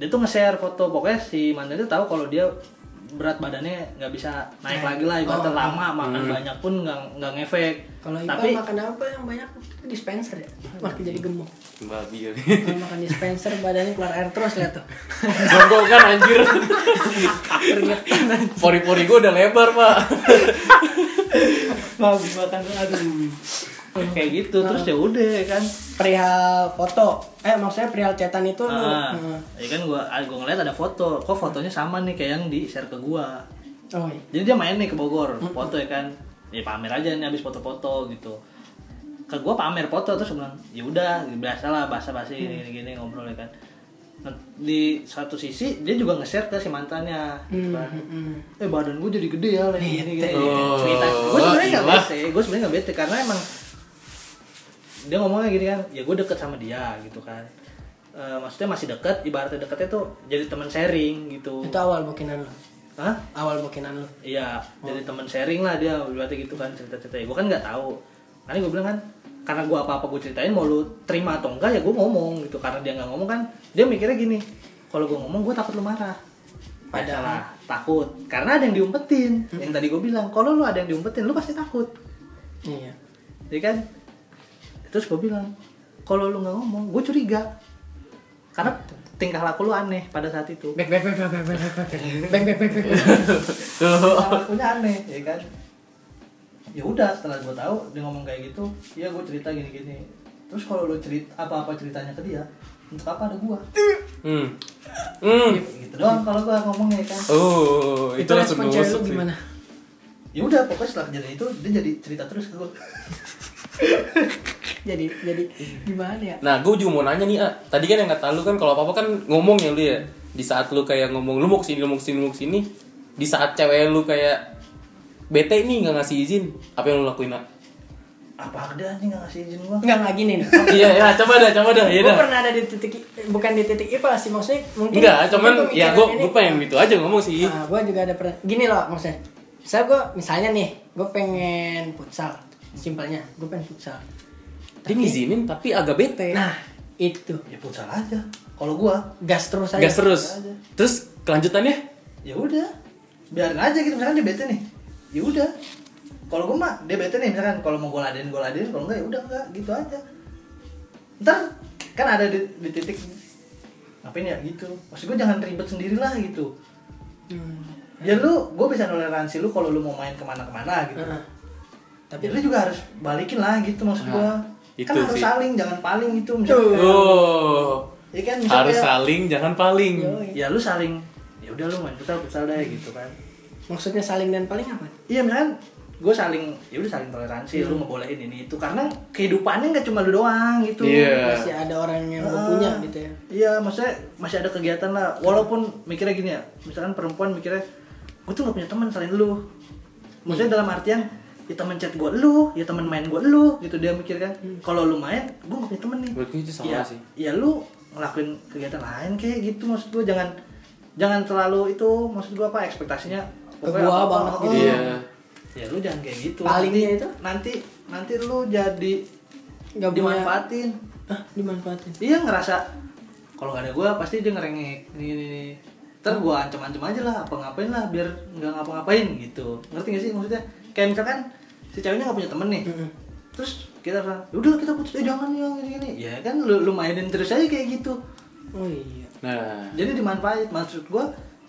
S2: dia tuh nge-share foto pokoknya si mantan itu tahu kalau dia berat badannya nggak bisa naik
S1: Naik.
S2: lagi lah ibaratnya
S1: Oh.
S2: lama makan banyak pun nggak nggak ngefek
S1: Kalau Ipa
S2: tapi Iya.
S1: makan apa yang banyak itu dispenser ya. Makin jadi gemuk.
S3: Babi ya.
S1: Kalau makan dispenser badannya keluar air terus lihat tuh.
S3: Jongkongan kan, anjir.
S1: Keringetan.
S3: Pori-pori gue udah lebar, Pak.
S2: Maaf, makan aduh kayak gitu terus ya udah ya kan
S1: Perihal foto. Eh maksudnya perihal cetan itu lu.
S2: Ah,
S1: Nah.
S2: ya kan gua gua ngeliat ada foto kok fotonya sama nih kayak yang di share ke gua
S1: Oh iya.
S2: Jadi dia main nih ke Bogor, foto ya kan. Ya pamer aja nih habis foto-foto gitu. Ke gua pamer foto terus gua bilang, "Ya udah, biasalah basa-basi
S3: Mm.
S2: gini-gini ngobrol ya kan." Nah, Di satu sisi dia juga nge-share ke si mantannya. gitu kan.
S3: Mm-hmm.
S1: Hmm.
S2: Eh badan gua jadi gede ya lagi gini gini.
S3: Oh,
S2: Cerita. Gua sebenarnya enggak
S3: ilah.
S2: bete, gua sebenarnya enggak bete karena emang dia ngomongnya gini kan, ya gue deket sama dia gitu kan. Eh, maksudnya masih deket, ibaratnya deketnya tuh jadi teman sharing gitu.
S1: Itu awal bokinan lu.
S2: Hah?
S1: Awal bokinan lu.
S2: Iya, jadi teman sharing lah dia berarti gitu kan cerita-cerita. Ya, gue kan nggak tahu. Karena gue bilang kan karena gue apa-apa gue ceritain mau lu terima atau enggak ya gue ngomong gitu karena dia nggak ngomong kan dia mikirnya gini kalau gue ngomong gue takut lu marah
S1: Padahal.
S2: Padahal takut karena ada yang diumpetin yang tadi gue bilang kalau lu ada yang diumpetin lu pasti takut
S1: Iya.
S2: ya kan terus gue bilang kalau lu nggak ngomong gue curiga karena tingkah laku lu aneh pada saat itu
S1: Back back back back back back back back back back back.
S2: lakunya aneh ya kan ya udah setelah gue tahu dia ngomong kayak gitu ya gue cerita gini gini terus kalau lu cerita apa apa ceritanya ke dia untuk apa ada gue
S3: Hmm. Hmm.
S2: gitu doang kalau gue ngomongnya ya kan
S3: Oh, itu,
S1: Itu
S3: langsung
S1: respon cewek lu
S3: nusuk sih.
S1: gimana?
S2: ya udah pokoknya setelah kejadian itu dia jadi cerita terus ke gue
S1: Jadi jadi gimana ya?
S3: Nah, gue juga mau nanya nih, ah. tadi kan yang kata lu kan kalau apa-apa kan ngomong ya lu ya. Di saat lu kayak ngomong lu mau kesini, lu mau kesini, lu mau kesini. Di saat cewek lu kayak bete nih nggak ngasih izin, apa yang lu lakuin nak?
S2: apa ada anjing nggak ngasih izin gue
S1: Enggak enggak gini nih.
S3: Iya, ya, coba dah, coba dah, iya
S1: Gue
S3: dah.
S1: pernah gitu, ada di titik bukan di titik Ipa sih maksudnya mungkin
S3: Enggak, cuman
S1: mungkin
S3: ya gue
S1: pemikiran ini-
S3: gue pengen gitu aja ngomong sih.
S1: Nah, gue juga ada pernah. Gini loh maksudnya. Misal gue, misalnya nih, gue pengen futsal. Simpelnya, gue pengen futsal.
S3: Dia ngizinin tapi agak bete.
S1: Nah, itu
S2: ya futsal aja kalau gue
S1: gas terus aja.
S3: Gas terus. Terus kelanjutannya?
S2: ya udah biarin aja gitu misalkan dia bete nih ya udah kalau gue mah dia bete nih misalkan kalau mau gue ladenin gue ladenin kalau enggak ya udah enggak gitu aja ntar kan ada di, di titik ngapain ya gitu maksud gue jangan ribet sendirilah gitu
S1: Hmm.
S2: ya lu gue bisa toleransi lu kalau lu mau main kemana-kemana gitu
S1: Heeh.
S2: tapi lu juga harus balikin lah gitu maksud gue
S3: Nah,
S2: kan
S3: itu
S2: harus
S3: sih.
S2: saling jangan paling
S1: Tuh.
S2: gitu misalkan
S3: Oh.
S2: ya kan misalkan
S3: Harus
S2: ya-
S3: saling jangan paling.
S1: Yoi.
S2: ya lu saling ya udah lu main futsal futsal deh gitu kan
S1: Maksudnya saling dan paling apa?
S3: Eh.
S2: Iya misalkan gue saling ya udah saling toleransi lu ngebolehin ini itu karena kehidupannya nggak cuma lu doang gitu
S3: Iya.
S1: Masih ada orang yang gue
S2: Ah.
S1: punya gitu ya.
S2: iya maksudnya masih ada kegiatan lah walaupun mikirnya gini
S1: Hmm.
S2: ya misalkan perempuan mikirnya gue tuh gak punya teman selain lu maksudnya dalam artian ya temen chat gue lu ya temen main gue lu gitu dia mikir kan
S1: Hmm.
S2: kalau lu main gue gak punya temen nih
S3: Menurut gue itu salah
S2: ya,
S3: sih.
S2: ya lu ngelakuin kegiatan lain kayak gitu maksud gue jangan jangan terlalu itu maksud gue apa ekspektasinya
S1: Ke gua
S2: pokoknya apa-apa,
S1: banget
S2: oh,
S1: gitu
S3: Iya.
S2: ya lu jangan kayak gitu
S1: Palingnya
S2: nanti,
S1: itu?
S2: nanti nanti lu jadi
S1: Nggak punya-
S2: dimanfaatin
S1: ah dimanfaatin
S2: dia Iya, ngerasa kalau gak ada gue pasti dia ngerengek nih nih nih ntar gue ancam-ancam aja lah apa ngapain lah biar nggak ngapa-ngapain gitu ngerti gak sih maksudnya kayak misalkan si ceweknya gak punya temen nih
S1: Mm-mm.
S2: terus kita bilang udah kita putus eh jangan yang gini gini ya kan lu, lu mainin terus aja kayak gitu
S1: oh iya
S3: Nah,
S2: jadi dimanfaatin maksud gue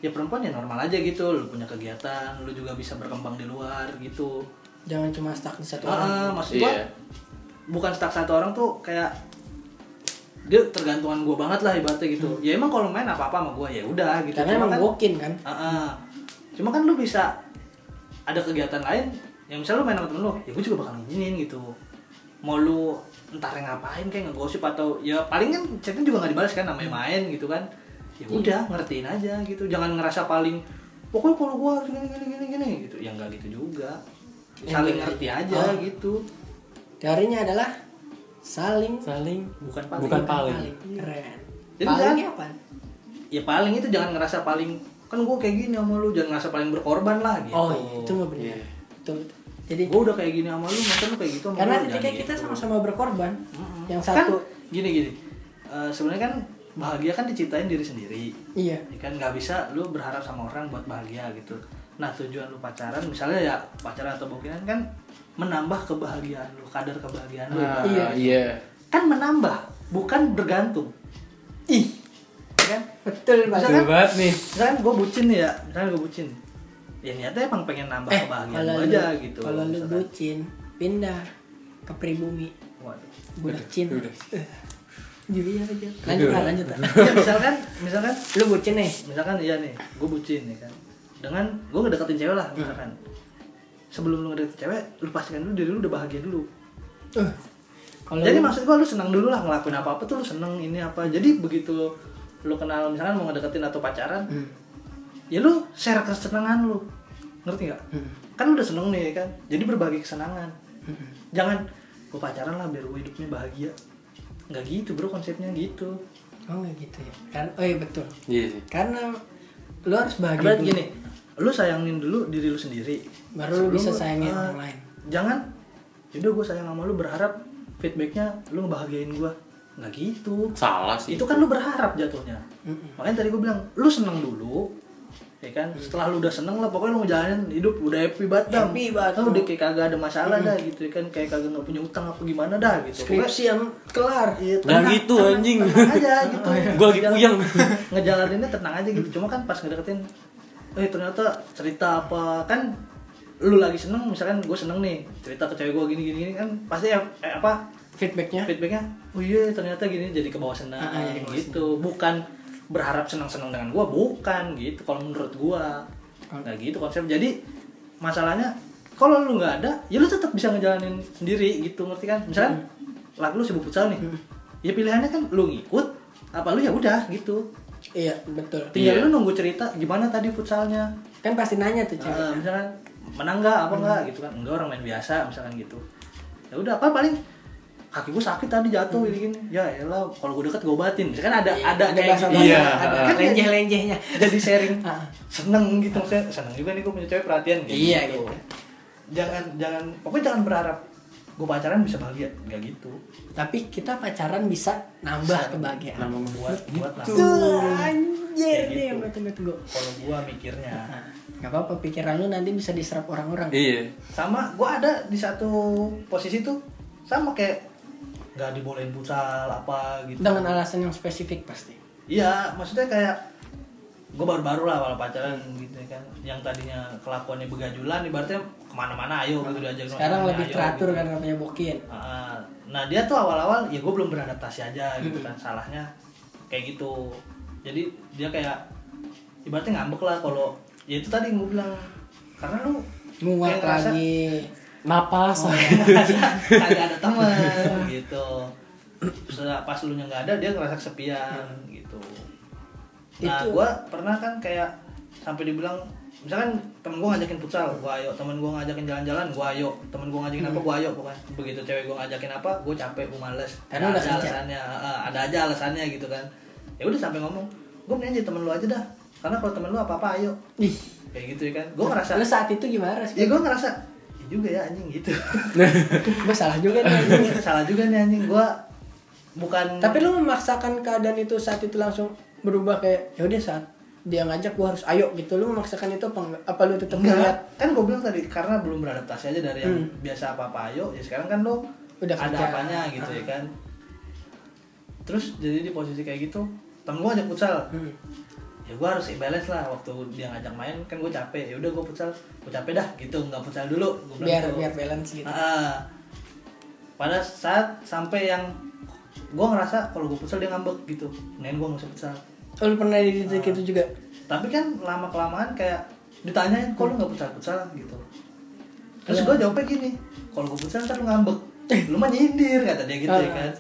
S2: ya perempuan ya normal aja gitu lu punya kegiatan lu juga bisa berkembang di luar gitu
S1: jangan cuma stuck di satu orang
S2: Ah, maksud gua
S3: Iya.
S2: bukan staff satu orang tuh kayak dia tergantungan gua banget lah ibaratnya gitu. Ya emang kalau main apa-apa sama gua ya udah gitu.
S1: Hmm. karena
S2: Cuma
S1: emang
S2: kan-
S1: bokin kan
S2: Ah, ah. Cuma kan lu bisa ada kegiatan lain yang misalnya lu main sama temen lu, ya gua juga bakal ngizinin gitu. Mau lu entar yang ngapain kayak ngegosip atau ya paling kan chatnya juga nggak dibalas kan namanya main gitu kan. Ya
S1: Iya.
S2: udah ngertiin aja gitu. Jangan ngerasa paling pokoknya kalau gua harus gini gini gini gini gitu. Ya enggak gitu juga. Saling
S1: Iya.
S2: ngerti aja
S1: Oh.
S2: gitu.
S1: teorinya adalah saling
S3: saling
S2: Bukan paling.
S3: Bukan paling.
S1: paling keren
S2: Jadi
S1: palingnya
S2: jangan-
S1: apa
S2: ya paling itu jangan ngerasa paling kan gue kayak gini sama lu jangan ngerasa paling berkorban lah gitu
S1: oh iya itu nggak benar Betul. jadi
S2: gue udah kayak gini sama lu masa lu kayak gitu sama
S1: karena
S2: gua? Jangan
S1: ketika kita
S2: gitu.
S1: sama-sama berkorban
S2: Mm-mm.
S1: yang
S2: Kan
S1: satu
S2: gini gini Eh, sebenarnya kan bahagia kan diciptain diri sendiri
S1: iya
S2: ya kan nggak bisa lu berharap sama orang buat bahagia gitu nah tujuan lu pacaran misalnya ya pacaran atau bokinan kan menambah kebahagiaan lu kadar kebahagiaan lu
S3: Ah,
S1: Iya.
S3: iya.
S2: kan menambah bukan bergantung
S1: ih
S2: ya kan
S1: betul
S2: Bisa
S1: banget
S3: Betul banget nih.
S2: misalkan gue bucin nih ya misalkan gue bucin ya niatnya emang pengen nambah
S1: eh
S2: kebahagiaan
S1: kalau
S2: gua
S1: lu
S2: aja gitu
S1: kalau lu
S2: misalkan.
S1: bucin pindah ke pribumi
S2: Waduh.
S1: budak Cina
S3: udah.
S1: jadi aja lanjut lah lanjut lah
S2: ya, misalkan misalkan
S1: lu bucin nih
S2: misalkan iya nih gue bucin ya kan dengan gue ngedeketin cewek lah misalkan sebelum lu ngedeketin cewek lu pastikan dulu diri lu udah bahagia dulu
S1: Eh, kalau
S2: jadi
S1: lu-
S2: maksud gue lu senang dulu lah ngelakuin apa apa tuh lu seneng ini apa jadi begitu lu kenal misalkan mau ngedeketin atau pacaran
S1: Hmm.
S2: ya lu share kesenangan lu ngerti nggak
S1: Hmm.
S2: kan lu udah seneng nih ya kan jadi berbagi kesenangan
S1: Hmm.
S2: jangan gue pacaran lah biar gue hidupnya bahagia nggak gitu bro konsepnya gitu
S1: oh nggak gitu ya kan oh iya betul
S3: Iya sih.
S1: karena lu harus bahagia
S2: berarti
S1: dulu.
S2: gini lu sayangin dulu diri lu sendiri
S1: Baru lu
S2: Sebelum
S1: bisa sayangin
S2: ah,
S1: orang lain.
S2: jangan yaudah gue sayang sama lu berharap feedbacknya lu ngebahagiain gue nggak gitu
S3: Salah sih.
S2: itu kan lu berharap jatuhnya
S1: Mm-mm.
S2: makanya tadi gue bilang lu seneng dulu ya kan
S1: Hmm.
S2: setelah lu udah seneng lah pokoknya lu ngejalanin hidup udah happy banget dah
S1: Happy banget. Hmm.
S2: Lu udah kayak kagak ada masalah dah gitu ya kan kayak kagak nggak punya utang apa gimana dah gitu Pokoknya-
S1: skripsi yang kelar
S2: Iya,
S3: Jangan gitu, anjing. Oh, iya,
S2: tenang aja gitu.
S3: Gua lagi
S2: Ngejalan-
S3: puyeng.
S2: Ngejalaninnya tenang aja gitu. Cuma kan pas ngedeketin eh ternyata cerita apa kan lu lagi seneng misalkan gue seneng nih cerita ke cewek gue gini gini gini kan pasti ya, eh, apa
S1: feedbacknya
S2: feedbacknya oh iya ternyata gini jadi ke bawah senang
S1: Ah, iya, kebawa
S2: gitu bukan berharap senang senang dengan gue bukan gitu kalau menurut gue nggak gitu konsep jadi masalahnya kalau lu nggak ada ya lu tetap bisa ngejalanin sendiri gitu ngerti kan misalkan lagu lu sibuk futsal nih ya pilihannya kan lu ngikut apa lu ya udah gitu
S1: iya betul
S2: tinggal
S3: Iya.
S2: lu nunggu cerita gimana tadi futsalnya
S1: kan pasti nanya tuh Iya, cewek Hmm.
S2: Eh, misalkan menang nggak apa nggak gitu kan enggak orang main biasa misalkan gitu ya udah apa paling kaki gue sakit tadi jatuh
S1: Hmm.
S2: gini gini ya elah kalau gue deket gue obatin misalkan ada ada kayak
S1: bahasa
S2: gitu
S3: Iya.
S2: ada
S1: ada
S2: kan
S1: lenjeh
S2: jadi,
S1: lenjehnya
S2: jadi sharing
S1: Ah.
S2: seneng gitu maksudnya seneng juga nih gue punya cewek perhatian gitu.
S1: Iya, gitu.
S2: jangan jangan pokoknya jangan berharap gue pacaran bisa bahagia nggak gitu
S1: tapi kita pacaran bisa nambah kebahagiaan Gitu.
S3: Nama membuat.
S2: buat buat
S1: Tuh,
S2: nambah.
S1: anjir
S2: Kayak
S1: nih yang
S2: gitu.
S1: gue tunggu tunggu
S2: kalau gue
S1: Ah.
S2: mikirnya
S1: Gak Nah, apa-apa, pikiran lu nanti bisa diserap orang-orang
S3: Iya.
S2: sama gue ada di satu posisi tuh sama kayak nggak dibolehin futsal apa gitu
S1: Dengan alasan yang spesifik pasti
S2: iya maksudnya kayak gue baru-baru lah awal pacaran gitu ya kan yang tadinya kelakuannya begajulan ibaratnya kemana-mana ayo gitu
S1: Nah,
S2: diajakin
S1: Sekarang
S2: kemana-mana,
S1: lebih
S2: ayo,
S1: teratur
S2: gitu.
S1: kan katanya bokin
S2: Ah, nah dia tuh awal-awal ya gue belum beradaptasi aja gitu
S1: Hmm.
S2: kan salahnya kayak gitu jadi dia kayak ibaratnya ngambek lah kalau ya itu tadi gue bilang karena lu
S1: Muat
S2: kayak ngerasa-
S1: lagi
S3: Napas.
S2: kagak ada teman gitu Setelah pas lu nya nggak ada dia ngerasa kesepian gitu nah
S1: Itu.
S2: gua pernah kan kayak sampai dibilang misalkan temen gue ngajakin futsal gue ayo temen gue ngajakin jalan-jalan gue ayo temen gue ngajakin
S1: Hmm.
S2: apa gue ayo pokoknya begitu cewek gue ngajakin apa gue capek gue males
S1: Karena udah
S2: ada
S1: kerja.
S2: alasannya eh, ada aja alasannya gitu kan ya udah sampai ngomong gue mending aja temen lu aja dah karena kalau temen lu apa-apa ayo
S1: Ih,
S2: kayak gitu ya kan gue ngerasa
S1: lu saat itu gimana
S2: ya
S1: sih?
S2: gue ngerasa "Iya juga ya anjing gitu
S1: Gue salah juga nih. anjing.
S2: salah juga nih anjing gue bukan
S1: Tapi lu memaksakan keadaan itu saat itu langsung berubah kayak ya udah saat dia ngajak gua harus ayo gitu. Lu memaksakan itu apa enggak? Apa lu tetap
S2: Enggak,
S1: ngeliat Hmm.
S2: kan gue bilang tadi karena belum beradaptasi aja dari yang biasa apa-apa ayo ya sekarang kan lo
S1: Udah
S2: ada
S1: kerja. Ah.
S2: apanya gitu ya kan terus jadi di posisi kayak gitu temen gue ajak futsal
S1: Hmm.
S2: ya gue harus balance lah waktu dia ngajak main kan gue capek ya udah gue futsal gue capek dah gitu nggak futsal dulu gue
S1: biar biar balance gitu.
S2: Ah. pada saat sampai yang gue ngerasa kalau gue futsal dia ngambek gitu main gue nggak usah futsal
S1: Oh, lu pernah di titik
S2: Nah.
S1: itu juga?
S2: tapi kan lama kelamaan kayak ditanyain kok lu nggak pucat pucat gitu terus
S1: Iya.
S2: gue jawabnya gini kalau gue pucat ntar lu ngambek lu mah nyindir kata dia gitu
S1: Ah,
S2: ya kan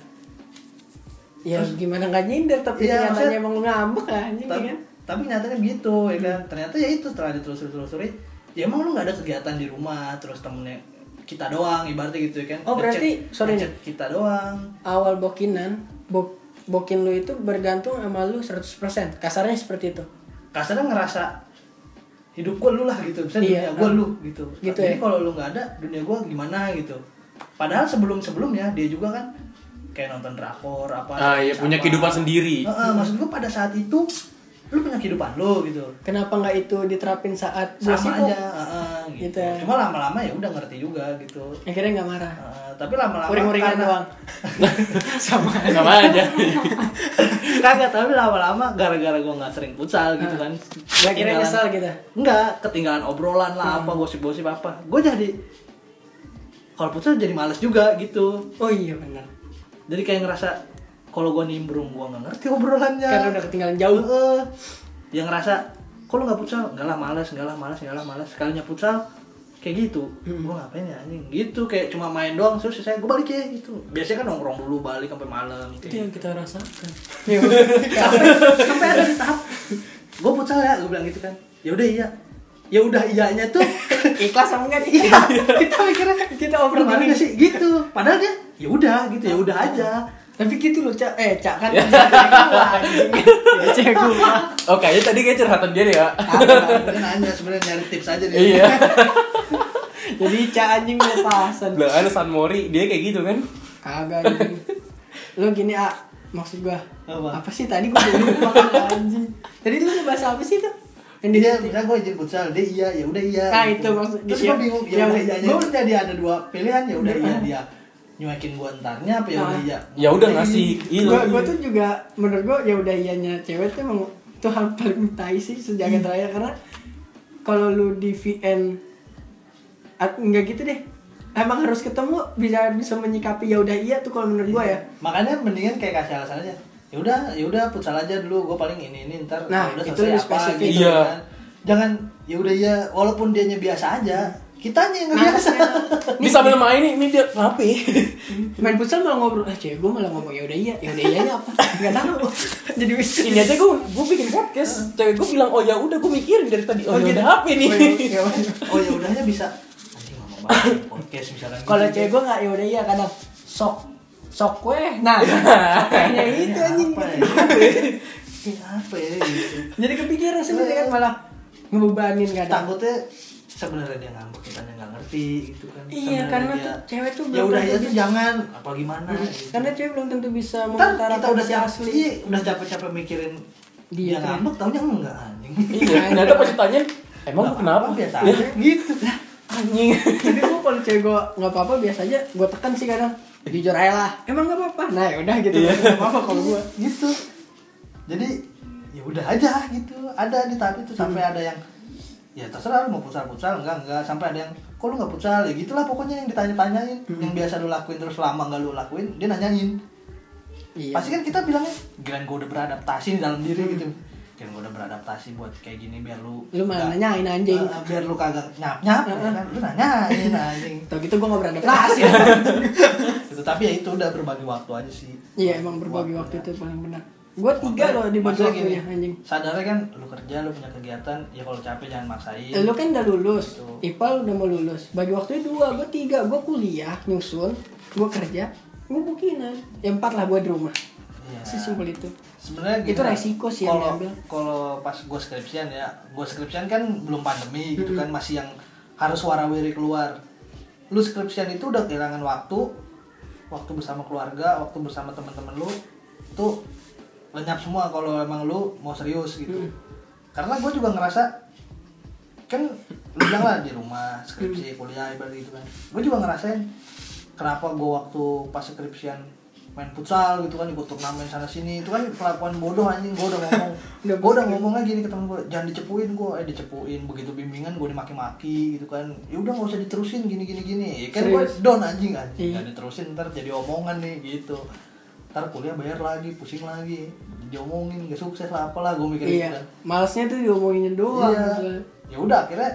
S1: Ya gimana nggak nyindir tapi
S2: Iya,
S1: nyatanya
S2: maksud-
S1: emang lu ngambek lah anjing
S2: Ta-
S1: ya kan? Hmm.
S2: tapi nyatanya begitu ya kan ternyata ya itu setelah ditelusuri telusuri ya emang lu nggak ada kegiatan di rumah terus temennya kita doang ibaratnya gitu ya kan
S1: Oh, berarti-
S2: Ngechat-
S1: sorry
S2: ngechat kita doang
S1: Awal bokinan, bo- bokin lu itu bergantung sama lu 100%. Kasarnya seperti itu.
S2: kasarnya kan ngerasa hidup gue lu lah gitu misalnya
S1: Iya,
S2: dunia gue
S1: ah.
S2: lu gitu,
S1: Gitu
S2: jadi
S1: ya.
S2: kalau lu nggak ada dunia gue gimana gitu padahal sebelum sebelumnya dia juga kan kayak nonton drakor apa
S3: Ah, iya,
S2: apa.
S3: punya kehidupan sendiri.
S2: Heeh, maksud gue pada saat itu lu punya kehidupan lu gitu
S1: Kenapa nggak itu diterapin saat gua
S2: sama
S1: sibuk?
S2: aja heeh,
S1: Gitu
S2: gitu.
S1: ya.
S2: cuma lama-lama ya udah ngerti juga gitu
S1: Akhirnya nggak marah.
S2: Heeh, tapi lama-lama
S1: Uring-uringan
S2: karena-
S1: doang. Sama
S3: Sama aja.
S2: kagak tapi lama-lama gara-gara gue nggak sering futsal gitu kan
S1: Gak Ah. kira
S2: Ketinggalan-
S1: nyesel gitu.
S2: Enggak, ketinggalan obrolan lah
S1: Hmm.
S2: apa gosip-gosip apa. Gue jadi kalau putus jadi males juga gitu.
S1: Oh iya benar.
S2: Jadi kayak ngerasa kalau gue nimbrung gue nggak ngerti obrolannya.
S1: Karena udah ketinggalan jauh.
S2: Heeh. yang ngerasa kalau nggak futsal enggak lah males, enggak lah males, enggak lah males. Sekalinya futsal kayak gitu,
S1: Hmm.
S2: gue ngapain ya anjing gitu kayak cuma main doang terus saya gue balik ya gitu biasanya kan nongkrong dulu balik sampai malam gitu.
S3: Itu yang kita rasakan.
S1: Iya.
S2: sampai sampai ada di tahap gue futsal ya gue bilang gitu kan ya udah iya ya udah iyanya tuh
S1: Ikhlas sama enggak nih?
S2: iya kita mikirnya
S1: Kita
S2: "Lu
S1: obrol gini.
S2: kemarin gak Oh, sih gitu padahal dia ya udah gitu ya udah aja
S1: Tapi gitu loh, Cak. Eh, Cak
S2: Iya.
S1: kan. Ya cek gua.
S3: Oh, kayaknya tadi kayak curhatan dia deh ya.
S2: Dia nanya sebenarnya nyari tips aja nih
S3: Iya.
S1: Jadi Cak anjing lepasan.
S3: Belakangan San Mori dia kayak gitu kan.
S1: Kagak anjing. Lu gini, A. Maksud gua.
S2: Apa?
S1: Apa, sih tadi gua udah lupa kan, anjing. Tadi lu ngebahas apa sih tuh? Yang di
S2: dia misalnya gue izin futsal dia iya ya udah iya
S1: Nah, itu maksud-
S2: terus
S1: iya.
S2: gue bingung
S1: Iya,
S2: ya udah iya
S1: gua-
S2: gue jadi ada dua pilihan ya udah iya
S1: Iya.
S2: dia nyuakin gue entarnya apa ya udah
S1: Ah.
S2: iya
S3: Ya udah ngasih.
S1: gua,
S3: Iya.
S1: gua tuh juga menurut gua ya udah iyanya cewek tuh emang tuh hal paling tai sih sejak terakhir karena kalau lu di VN ah, nggak gitu deh emang harus ketemu bisa bisa menyikapi ya udah iya tuh kalau menurut gua ya
S2: makanya mendingan kayak kasih alasan aja ya udah ya udah futsal aja dulu gue paling ini ini ntar
S1: Nah,
S2: kalau udah
S1: itu
S2: selesai
S1: lebih
S2: apa
S1: spesifik.
S2: gitu
S3: Iya.
S2: kan. jangan ya udah ya walaupun dianya biasa aja kitanya yang
S1: Nah,
S2: nggak biasa
S3: Ini sambil main nih, ini dia rapi.
S1: main futsal malah ngobrol ah cewek gua malah ngomong ya udah iya ya udah iyanya apa nggak tahu jadi wis-
S3: Ini aja gue gue bikin podcast, cewek gue bilang oh ya udah gue mikirin dari tadi oh, ya udah apa nih.
S1: Oh, ya- ya udah.
S2: oh ya udahnya bisa anjing ngomong banget di podcast misalnya
S1: kalau
S2: gitu.
S1: cewek gua nggak ya udah iya kadang sok sok weh nah soknya
S2: Ini
S1: itu anjing
S2: apa ya? Ini apa ya gitu.
S1: jadi kepikiran sendiri kan malah ngebebanin kadang
S2: takutnya sebenarnya dia ngambek kita nggak ngerti gitu kan
S1: Iya,
S2: Sebenarnya
S1: karena
S2: dia,
S1: tuh cewek tuh
S2: ya
S1: belum
S2: udah
S1: tentu
S2: ya tuh jangan apa gimana gitu.
S1: karena cewek belum tentu bisa
S2: Ntar
S1: mengutarakan
S2: kita udah
S1: yang
S2: siap iya, udah capek-capek mikirin dia
S1: Dia kan. tuh.
S2: ngambek taunya enggak anjing.
S3: Iya, ternyata pas ditanya emang
S2: Nggak
S3: gue kenapa?
S2: apa-apa, Biasa
S3: Ya,
S2: aja gitu.
S3: Anjing.
S1: Iya. tapi gue kalau cewek gue nggak apa-apa biasa aja gue tekan sih kadang jujur aja lah emang nggak apa-apa nah yaudah gitu
S3: Iya.
S1: nggak apa-apa kalau gue
S2: gitu. Jadi ya udah aja gitu. Ada di tahap itu sampai
S1: Hmm.
S2: ada yang ya terserah lu mau pucal-pucal enggak enggak sampai ada yang kok lu enggak pucal ya gitulah pokoknya yang ditanya-tanyain
S1: Hmm.
S2: yang biasa lu lakuin terus lama enggak lu lakuin dia nanyain
S1: iya Hmm.
S2: pasti kan kita bilangnya gila gue udah beradaptasi di dalam diri gitu Gila gue udah beradaptasi buat kayak gini biar lu
S1: lu malah
S2: nggak-
S1: nanyain anjing
S2: Eh, biar lu kagak nyap nyap kan lu nanyain anjing
S1: tau gitu gue nggak beradaptasi
S2: itu tapi ya itu udah berbagi waktu aja sih
S1: iya emang berbagi waktu itu paling benar Gua tiga loh di bagi
S2: Maksudnya gini,
S1: waktunya anjing.
S2: Sadarnya kan lu kerja, lu punya kegiatan, ya kalau capek jangan maksain.
S1: Eh, Lu kan udah lulus,
S2: Tuh.
S1: Ipal udah mau lulus. Bagi waktunya dua, gue tiga, gue kuliah, nyusul, gue kerja, gue bukinan. Yang empat lah gue di rumah.
S2: Iya.
S1: Sesimpel itu.
S2: Sebenarnya
S1: Itu
S2: gini,
S1: resiko sih yang
S2: kalau
S1: diambil.
S2: kalau pas gue skripsian ya, gue skripsian kan belum pandemi gitu kan masih yang harus warawiri keluar. Lu skripsian itu udah kehilangan waktu, waktu bersama keluarga, waktu bersama teman-teman lu itu lenyap semua kalau emang lu mau serius gitu. Karena gue juga ngerasa kan lu bilang lah di rumah skripsi kuliah ibarat gitu kan gue juga ngerasain kenapa gue waktu pas skripsian main futsal gitu kan ikut turnamen sana sini itu kan kelakuan bodoh anjing gue udah ngomong
S1: Udah
S2: gue udah ngomongnya gini ke temen gue jangan dicepuin gue eh dicepuin begitu bimbingan gue dimaki-maki gitu kan ya udah nggak usah diterusin gini gini gini ya kan gue
S1: Serius?
S2: down anjing anjing
S1: Iya.
S2: jangan diterusin ntar jadi omongan nih gitu ntar kuliah bayar lagi pusing lagi diomongin gak sukses lah apalah gue mikir gitu
S1: Iya,
S2: kan
S1: malesnya tuh diomongin doang. gitu.
S2: Iya. Ya udah akhirnya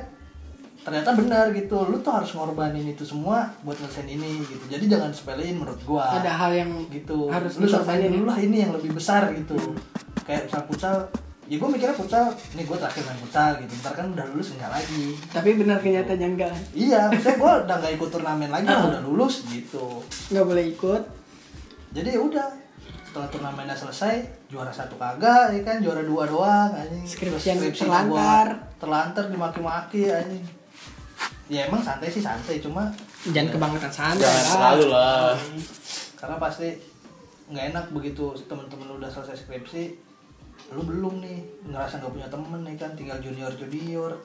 S2: ternyata benar gitu. Lu tuh harus ngorbanin itu semua buat ngelesain ini gitu. Jadi jangan sepelein menurut gua.
S1: Ada hal yang
S2: gitu.
S1: harus
S2: lu
S1: diselesain
S2: selesaiin
S1: ya.
S2: dulu lah ini yang lebih besar gitu. Kayak misal futsal, ya gua mikirnya futsal, nih gua terakhir main futsal gitu. Ntar kan udah lulus enggak lagi.
S1: Tapi benar kenyataannya enggak.
S2: Iya, maksudnya gua udah nggak ikut turnamen lagi, udah lulus gitu.
S1: Enggak boleh ikut.
S2: Jadi ya udah setelah turnamennya selesai juara satu kagak ya kan juara dua doang anjing
S1: Skripsian
S2: Terus
S1: terlantar.
S2: gua terlantar dimaki-maki anjing ya emang santai sih santai cuma ya.
S1: Jangan
S2: Iya.
S1: kebangetan santai.
S3: Jangan
S1: lah.
S3: terlalu lah.
S2: karena pasti nggak enak begitu temen-temen lu udah selesai skripsi lu belum nih ngerasa nggak punya temen nih kan tinggal junior junior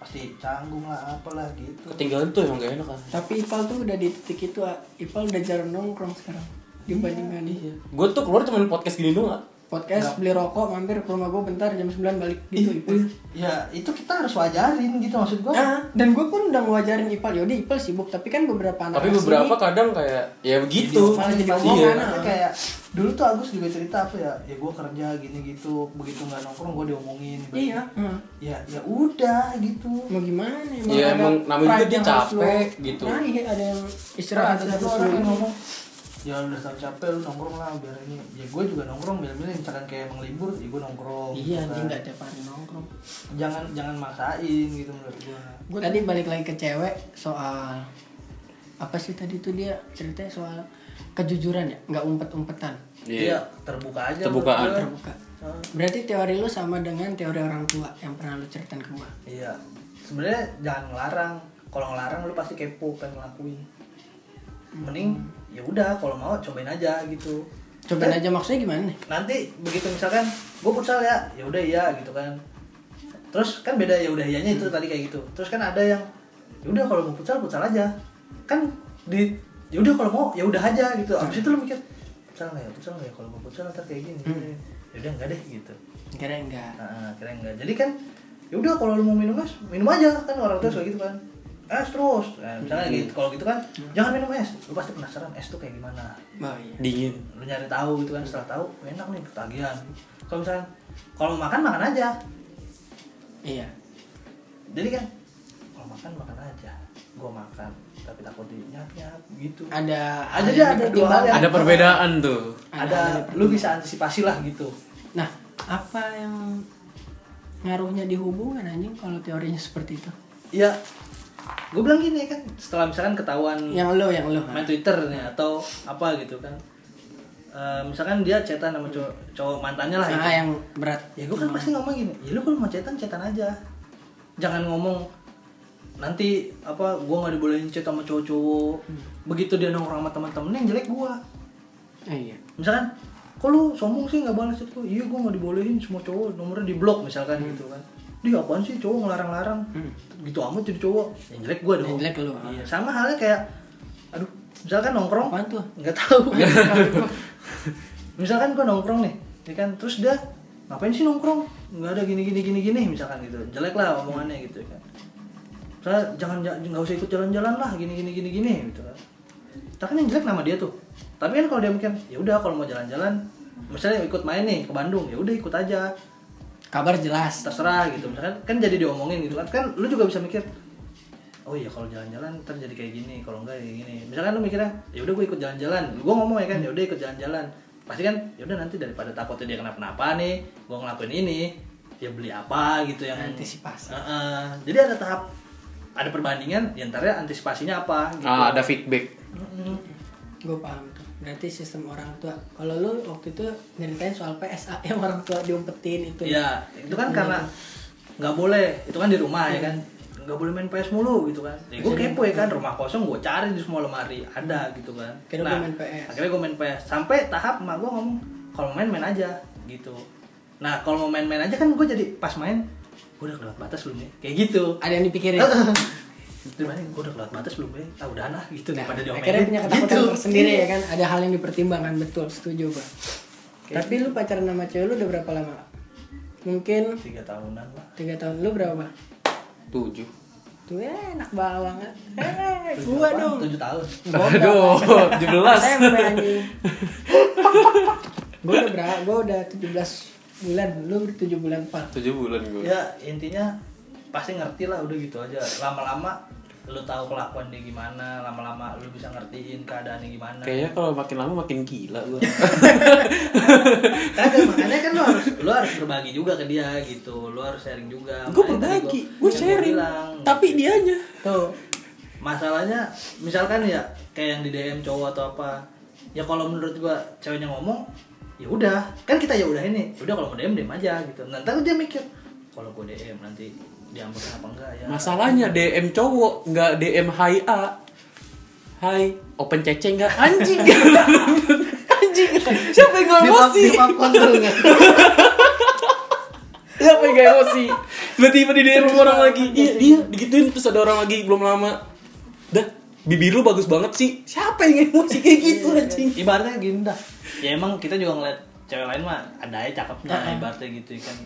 S2: pasti canggung lah apalah gitu
S3: Ketinggalan tuh emang gak enak kan.
S1: Tapi Ipal tuh udah di titik itu, ah. Ipal udah jarang nongkrong sekarang dibandingkan
S2: Iya,
S1: nih.
S3: Gue Iya. tuh keluar cuman podcast gini doang. ah. Kak.
S1: Podcast beli rokok, mampir ke rumah gue bentar jam 9 balik gitu Ipal.
S2: ya itu kita harus wajarin gitu maksud gua
S1: Ah, dan gue pun udah ngajarin Ipal, yaudah Ipal sibuk, tapi kan beberapa anak
S3: Tapi
S1: asli-
S3: beberapa kadang kayak ya begitu.
S1: Malah jadi
S3: Iya.
S1: omongan.
S2: Karena Oh, kayak dulu tuh Agus juga cerita apa ya ya gue kerja gini gitu begitu nggak nongkrong gue diomongin
S1: Iya, hmm.
S2: ya ya udah gitu
S1: mau gimana? ada
S3: Iya, emang namanya juga
S1: pride
S3: dia
S1: yang harus lu-
S3: capek, gitu.
S1: Nah, iya, ada yang istirahat
S2: ada
S1: harus
S2: satu
S1: lu-
S2: orang yang ngomong ya lu udah tau capek lu nongkrong lah biar ini ya gue juga nongkrong milih-milih misalkan kayak emang libur ya gue nongkrong
S1: Iya,
S2: gitu
S1: anjing
S2: kan.
S1: nggak tiap hari nongkrong.
S2: jangan jangan maksain gitu menurut gue
S1: Gue tadi balik lagi ke cewek soal apa sih tadi tuh dia ceritanya soal kejujuran ya, nggak umpet-umpetan,
S3: Iya.
S2: terbuka aja
S3: Terbukaan.
S2: menurut gua.
S1: terbuka.
S2: Heeh.
S1: Berarti teori lu sama dengan teori orang tua yang pernah lu ceritain ke gua.
S2: Iya. Sebenarnya jangan ngelarang. Kalau ngelarang lu pasti kepo pengen ngelakuin. Mending ya udah kalau mau cobain aja gitu.
S1: Cobain aja maksudnya gimana nih?
S2: Nanti begitu misalkan gue futsal ya, ya udah iya gitu kan. Terus kan beda ya udah iyanya itu tadi kayak gitu. Terus kan ada yang ya udah kalau mau futsal futsal aja. Kan di ya udah kalau mau ya udah aja gitu. Abis itu lu mikir futsal nggak ya futsal nggak ya kalau mau futsal ntar kayak gini. Ya udah enggak deh gitu.
S1: Kira enggak.
S2: Nah, keren nggak? Jadi kan, ya udah kalau lu mau minum es, minum aja kan orang tua suka gitu kan. Es terus, nah, misalnya gitu. Kalau gitu kan, jangan minum es. Lu pasti penasaran es tuh kayak gimana.
S1: Oh iya.
S3: Dingin.
S2: Lu nyari tahu gitu kan. Setelah tahu, "Oh, enak nih ketagihan. Kalau misalnya, kalau makan makan aja.
S1: Iya.
S2: Jadi kan, kalau makan makan aja. Gua makan, tapi takut dinyap nyap gitu.
S1: Ada
S2: Ada dia, ada dua hal yang-
S3: Ada perbedaan tuh.
S2: Ada, lu bisa antisipasi lah gitu.
S1: Nah, apa yang ngaruhnya di hubungan anjing kalau teorinya seperti itu?
S2: Iya. Gue bilang gini kan, setelah misalkan ketahuan
S1: Yang lo, yang lo.
S2: main Twitter nih atau apa gitu kan. Eh, misalkan dia cetan sama cowok, cowok mantannya lah itu.
S1: Nah, yang berat.
S2: Ya gue kan pasti ngomong gini, ya lu kalau mau cetan cetan aja. Jangan ngomong nanti apa gua nggak dibolehin chat sama cowok-cowok. Begitu dia nongkrong sama teman-temannya yang jelek gua.
S1: Ah, iya.
S2: Misalkan kok lu sombong sih nggak balas chat gua? Iya gua nggak dibolehin semua cowok nomornya di blok misalkan gitu kan. Dia apaan sih cowok ngelarang-larang?
S1: Hmm.
S2: Gitu amat jadi cowok. Yang jelek gua dong.
S1: Yang jelek lu. ah.
S2: Iya, sama halnya kayak aduh, misalkan nongkrong
S1: Apaan tuh?
S2: nggak tahu misalkan gua nongkrong nih ya kan terus dia ngapain sih nongkrong nggak ada gini gini gini gini misalkan gitu jelek lah omongannya gitu ya kan saya jangan ja- nggak usah ikut jalan-jalan lah gini gini gini gini gitu kan Ntar kan yang jelek nama dia tuh tapi kan kalau dia mikir ya udah kalau mau jalan-jalan misalnya ikut main nih ke Bandung ya udah ikut aja
S1: Kabar jelas.
S2: terserah gitu misalkan kan jadi diomongin gitu kan kan lu juga bisa mikir oh iya kalau jalan-jalan ntar jadi kayak gini kalau enggak kayak gini misalkan lu mikirnya ya udah gue ikut jalan-jalan gue ngomong ya kan ya udah ikut jalan-jalan pasti kan ya udah nanti daripada takutnya dia kenapa-napa nih gue ngelakuin ini ya beli apa gitu yang
S1: Antisipasi.
S2: Heeh. jadi ada tahap ada perbandingan ya ntar ya antisipasinya apa gitu.
S3: Ah, ada feedback.
S2: Mm-mm.
S1: gue paham tuh berarti sistem orang tua kalau lu waktu itu nyeritain soal PSA yang orang tua diumpetin itu
S2: Iya, itu kan karena nggak boleh, itu kan di rumah ya kan, nggak boleh main PS mulu gitu kan. Ya, gue kepo ya kan, rumah kosong gue cari di semua lemari ada gitu kan.
S1: Akhirnya gua main PS.
S2: Akhirnya gue main PS sampai tahap emak gue ngomong kalau main main aja gitu. Nah kalau mau main-main aja kan gue jadi pas main gue udah kelewat batas belum ya, kayak gitu.
S1: ada yang dipikirin
S2: Gimana? Gue udah kelewat batas belum ya? Ah udah nah gitu
S1: nah,
S2: daripada diomelin.
S1: akhirnya punya ketakutan
S2: Gitu.
S1: tersendiri ya kan ada hal yang dipertimbangkan betul setuju gue tapi lu pacaran sama cewek lu udah berapa lama mungkin
S2: Tiga tahunan lah.
S1: tiga tahun lu berapa Bang?
S3: Tujuh.
S1: tuh ya enak banget eh gua
S2: Berapa?
S1: dong
S2: Tujuh tahun.
S3: Aduh, 17.
S1: SMP anjing. Gue udah berapa? Gue udah 17 bulan, lu 7 bulan pak.
S3: 7 bulan gue.
S2: ya intinya pasti ngerti lah udah gitu aja lama-lama lu tahu kelakuan dia gimana lama-lama lu bisa ngertiin keadaannya gimana
S3: Kayaknya kalau makin lama makin gila gue.
S2: Kagak, makanya kan lu harus lu harus berbagi juga ke dia gitu lu harus sharing juga
S3: gue
S2: Makanya tadi
S3: berbagi,
S2: gua-
S3: gue
S2: yang gua
S3: sharing.
S2: bilang, gitu.
S3: Tapi dianya.
S1: Tuh,
S2: masalahnya misalkan ya kayak yang di DM cowok atau apa ya kalau menurut gua ceweknya ngomong ya udah kan kita ya udah ini udah kalau mau DM DM aja gitu nanti dia mikir kalau gua DM nanti diambil apa enggak ya
S3: Masalahnya DM cowok nggak DM Hai A. Hai, open cece nggak? Anjing. Anjing. Siapa yang nggak emosi?
S1: di pop kontrolnya.
S3: Siapa yang nggak emosi? Tiba-tiba di DM sama orang lagi. Iya, iya, digituin terus ada orang lagi belum lama. Dah, bibir lu bagus banget sih. Siapa yang emosi kayak gitu anjing?
S2: ibaratnya gini dah ya emang kita juga ngeliat cewek lain mah ada aja cakepnya
S3: Uh-huh.
S2: ibaratnya gitu kan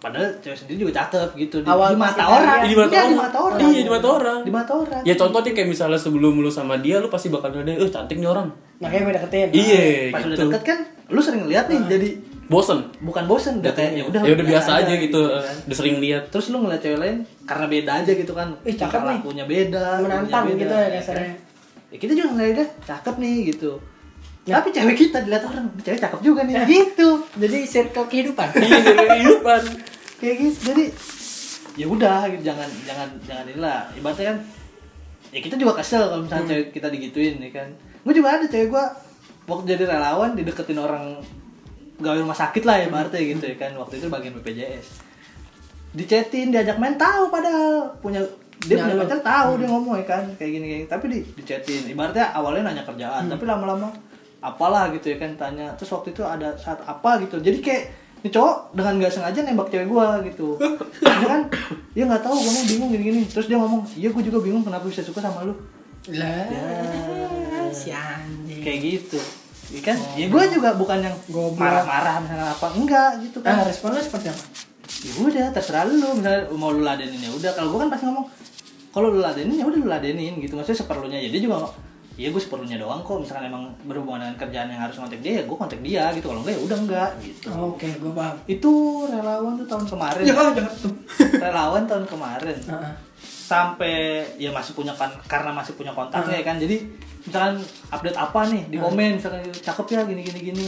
S2: padahal cewek sendiri juga cakep gitu di,
S1: Awal
S2: di mata
S1: pasti
S2: orang
S1: kaya.
S3: Di mata
S2: Iya,
S3: orang.
S2: di mata orang
S3: Iya, di mata orang.
S2: di mata orang
S3: Ya contohnya kayak misalnya sebelum lu sama dia lu pasti bakal ada, eh cantik nih orang.
S1: Makanya gue deketin.
S3: Iya,
S2: pas udah
S3: gitu.
S2: deket kan lu sering lihat nih
S1: Uh-huh.
S2: jadi
S3: Bosen.
S2: bukan bosen udah kayak ya udah
S3: ya udah biasa aja gitu,
S2: kan.
S3: udah sering lihat.
S2: terus lu ngeliat cewek lain karena beda aja gitu kan
S1: Ih, cakep nih.
S2: punya Iya, beda
S1: Menantang
S2: ininya
S1: gitu ya
S2: kan.
S1: kasarnya.
S2: ya kita juga ngeliat dia cakep nih gitu
S1: Ya.
S2: tapi cewek kita dilihat orang cewek cakep juga nih gitu
S1: Jadi circle kehidupan.
S3: Iya, dari kehidupan.
S2: kayak gitu jadi ya udah gitu. jangan jangan jangan inilah ibaratnya kan ya kita juga kesel kalau misalnya cewek kita digituin ya kan gue juga ada cewek gue waktu jadi relawan dideketin orang gawe rumah sakit lah ibaratnya gitu ya kan waktu itu bagian BPJS dicetin diajak main tahu padahal punya dia
S1: Ya,
S2: punya
S1: lu.
S2: pacar tahu dia ngomong ya kan kayak gini kayak gini. tapi di dicetin ibaratnya awalnya nanya kerjaan tapi lama-lama apalah gitu ya kan tanya terus waktu itu ada saat apa gitu jadi kayak ini cowok dengan nggak sengaja nembak cewek gua gitu dia kan dia nggak tahu gua mau bingung gini gini terus dia ngomong iya gua juga bingung kenapa bisa suka sama lu
S1: Lah,
S2: Ya.
S1: si anjing.
S2: kayak gitu ya kan ya gua juga bukan yang
S1: Goblok.
S2: marah-marah misalnya apa enggak gitu kan
S1: Nah, respon lu seperti apa?
S2: ya udah terserah lu misalnya mau lu ladenin ya udah kalau gue kan pasti ngomong kalau lu ladenin ya udah lu ladenin gitu maksudnya seperlunya ya dia juga ya gue seperlunya doang kok misalkan emang berhubungan dengan kerjaan yang harus kontak dia ya gue kontak dia gitu kalau enggak ya udah enggak gitu
S1: Oh, Oke, gue paham.
S2: itu relawan tuh tahun kemarin
S1: jangan tuh.
S2: relawan tahun kemarin sampai ya masih punya kan karena masih punya
S1: Ah.
S2: kontaknya ya kan jadi misalkan update apa nih di komen misalkan gitu, cakep ya gini gini gini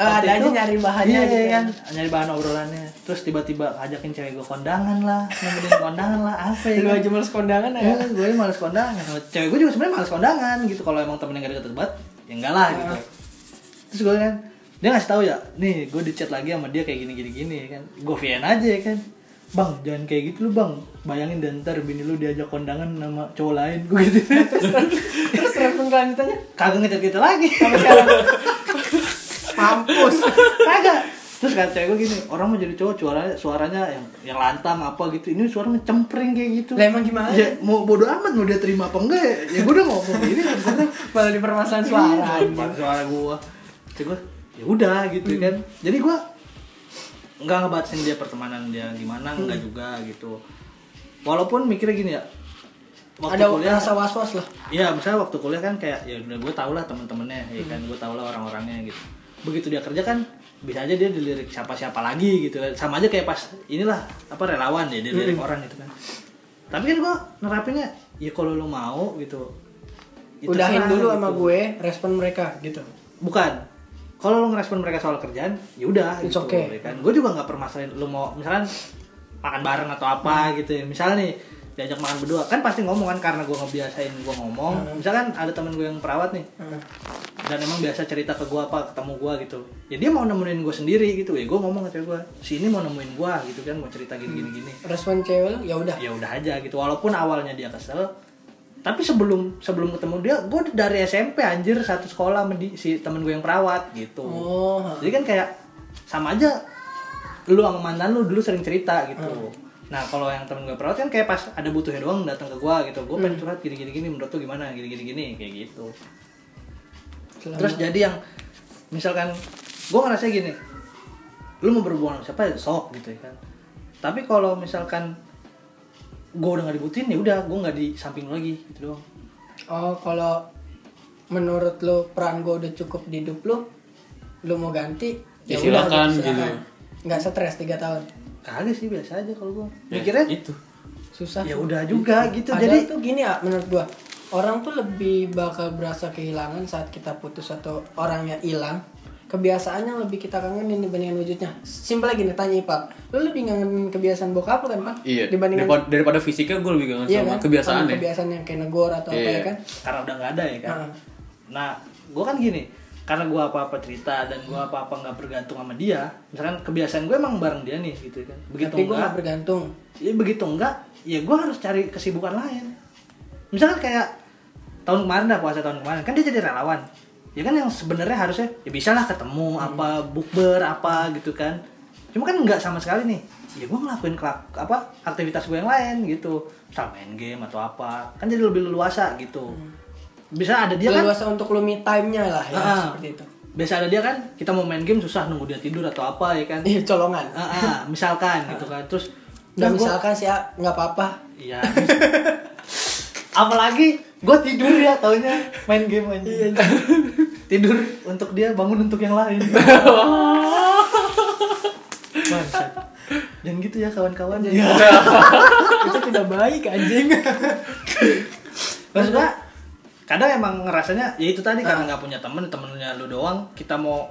S1: Eh, ada
S2: Waktu
S1: aja nyari bahannya
S2: iya,
S1: gitu
S2: iya
S1: ya.
S2: kan nyari bahan obrolannya terus tiba-tiba ajakin cewek gue kondangan lah nemenin kondangan lah apa ya
S1: Lu
S2: kan?
S1: aja males kondangan
S2: Ya,
S1: ya.
S2: gue males kondangan cewek gue juga sebenarnya males kondangan gitu kalau emang temennya gak deket banget ya enggak lah gitu terus gue kan dia ngasih tahu ya nih gue di chat lagi sama dia kayak gini gini gini ya kan gue VN aja ya kan bang jangan kayak gitu lu bang bayangin dan ntar bini lu diajak kondangan sama cowok lain gue gitu
S1: Terus respon kelanjutannya
S2: kagak ngechat kita lagi
S1: mampus.
S2: kagak terus kata cewek gue gini orang mau jadi cowok suaranya suaranya yang yang lantang apa gitu ini suara ngecempreng kayak gitu
S1: Lah emang gimana?
S2: ya mau bodo amat mau dia terima apa enggak ya, ya gue udah ngomong ini terserah.
S1: Malah di permasalahan suara.
S2: Iya, bukan suara gua Terus gua ya udah gitu
S1: Hmm.
S2: kan jadi gua nggak ngebatasin dia pertemanan dia gimana nggak
S1: Hmm.
S2: juga gitu walaupun mikirnya gini ya waktu
S1: Ada
S2: kuliah
S1: rasa was-was lah.
S2: ya misalnya waktu kuliah kan kayak ya udah gue tau lah temen-temennya ya
S1: Hmm.
S2: kan gue tau lah orang-orangnya gitu begitu dia kerja kan bisa aja dia dilirik siapa-siapa lagi gitu kan sama aja kayak pas inilah apa relawan ya dia
S1: Hmm.
S2: dilirik orang gitu kan tapi kan gue nerapinnya ya kalau lu mau gitu ya
S1: Udahin
S2: terserah
S1: dulu sama
S2: gitu.
S1: gue, respon mereka gitu.
S2: Bukan. kalau lo ngerespon mereka soal kerjaan ya udah
S1: It's
S2: gitu
S1: okay.
S2: ya kan gue juga nggak permasalahin lo mau misalnya makan bareng atau
S1: Hmm.
S2: apa gitu ya misalnya nih diajak makan berdua kan pasti ngomong kan karena gue ngebiasain gue ngomong
S1: Hmm.
S2: misalkan ada temen gue yang perawat nih
S1: Heeh.
S2: dan emang biasa cerita ke gue apa ketemu gue gitu ya dia mau nemenin gue sendiri gitu ya gue ngomong ke cewek gue si ini mau nemuin gue gitu kan mau cerita gini gini gini
S1: respon cewek lu, ya udah
S2: ya udah aja gitu walaupun awalnya dia kesel tapi sebelum sebelum ketemu dia gue dari SMP anjir satu sekolah sama di- si temen gue yang perawat gitu
S1: oh ha.
S2: jadi kan kayak sama aja lu sama mantan lu dulu sering cerita gitu
S1: Hmm.
S2: nah kalau yang temen gue perawat kan kayak pas ada butuhnya doang datang ke gue gitu gue
S1: Hmm.
S2: pengen curhat gini gini gini menurut lu gimana gini gini gini kayak gitu
S1: Selama-
S2: terus jadi yang misalkan gue ngerasa gini lu mau berhubungan sama siapa ya sok gitu ya kan tapi kalau misalkan gue udah gak dibutuhin ya udah gue nggak di samping lu lagi gitu doang
S1: oh kalau menurut lu peran gua udah cukup di hidup lu lu mau ganti
S3: Ya silakan,
S1: gitu,
S3: gitu.
S1: silakan. nggak stres tiga tahun
S2: kagak sih biasa aja kalau gue
S3: Ya,
S2: mikirnya
S3: itu
S1: susah
S2: ya udah juga gitu
S1: Padahal
S2: jadi
S1: tuh gini ya menurut gua orang tuh lebih bakal berasa kehilangan saat kita putus atau orangnya hilang kebiasaannya lebih kita kangenin dibandingkan wujudnya simpel lagi nih tanya Ipal lu lebih kangen kebiasaan bokap lu kan Pak
S3: iya
S1: dibandingkan
S3: daripada, daripada fisiknya gue lebih kangen
S1: iya
S3: sama
S1: kan?
S3: kebiasaan
S1: Sama
S3: ya
S1: kebiasaan yang kayak negor atau apa
S3: Iya.
S1: ya kan
S2: karena udah nggak ada ya kan
S1: Heeh.
S2: nah gue kan gini karena gue apa-apa cerita dan gue apa-apa nggak bergantung sama dia misalkan kebiasaan gue emang bareng dia nih gitu kan begitu
S1: tapi gua
S2: nggak-
S1: gak bergantung
S2: ya begitu enggak ya gue harus cari kesibukan lain misalkan kayak tahun kemarin dah puasa tahun kemarin kan dia jadi relawan ya kan yang sebenarnya harusnya ya bisa lah ketemu
S1: Hmm.
S2: apa bukber apa gitu kan cuma kan nggak sama sekali nih ya gue ngelakuin kelak, apa aktivitas gue yang lain gitu misal main game atau apa kan jadi lebih leluasa gitu bisa ada dia
S1: Hmm.
S2: kan
S1: leluasa untuk lu me time-nya lah ya
S2: Ah.
S1: seperti itu
S2: biasa ada dia kan kita mau main game susah nunggu dia tidur atau apa ya kan
S1: iya colongan
S2: Ah, ah, misalkan gitu kan terus
S1: dan
S2: "Nah, gua-
S1: misalkan sih ah, nggak apa-apa
S2: Iya. Apalagi gue tidur ya taunya main game
S1: Iya,
S2: aja. tidur untuk dia bangun untuk yang lain. Bangsat. Jangan gitu ya kawan-kawan.
S1: Iya. itu tidak baik anjing
S2: Maksud gua, kadang emang ngerasanya ya itu tadi
S1: Ah.
S2: karena nggak punya temen temennya lu doang kita mau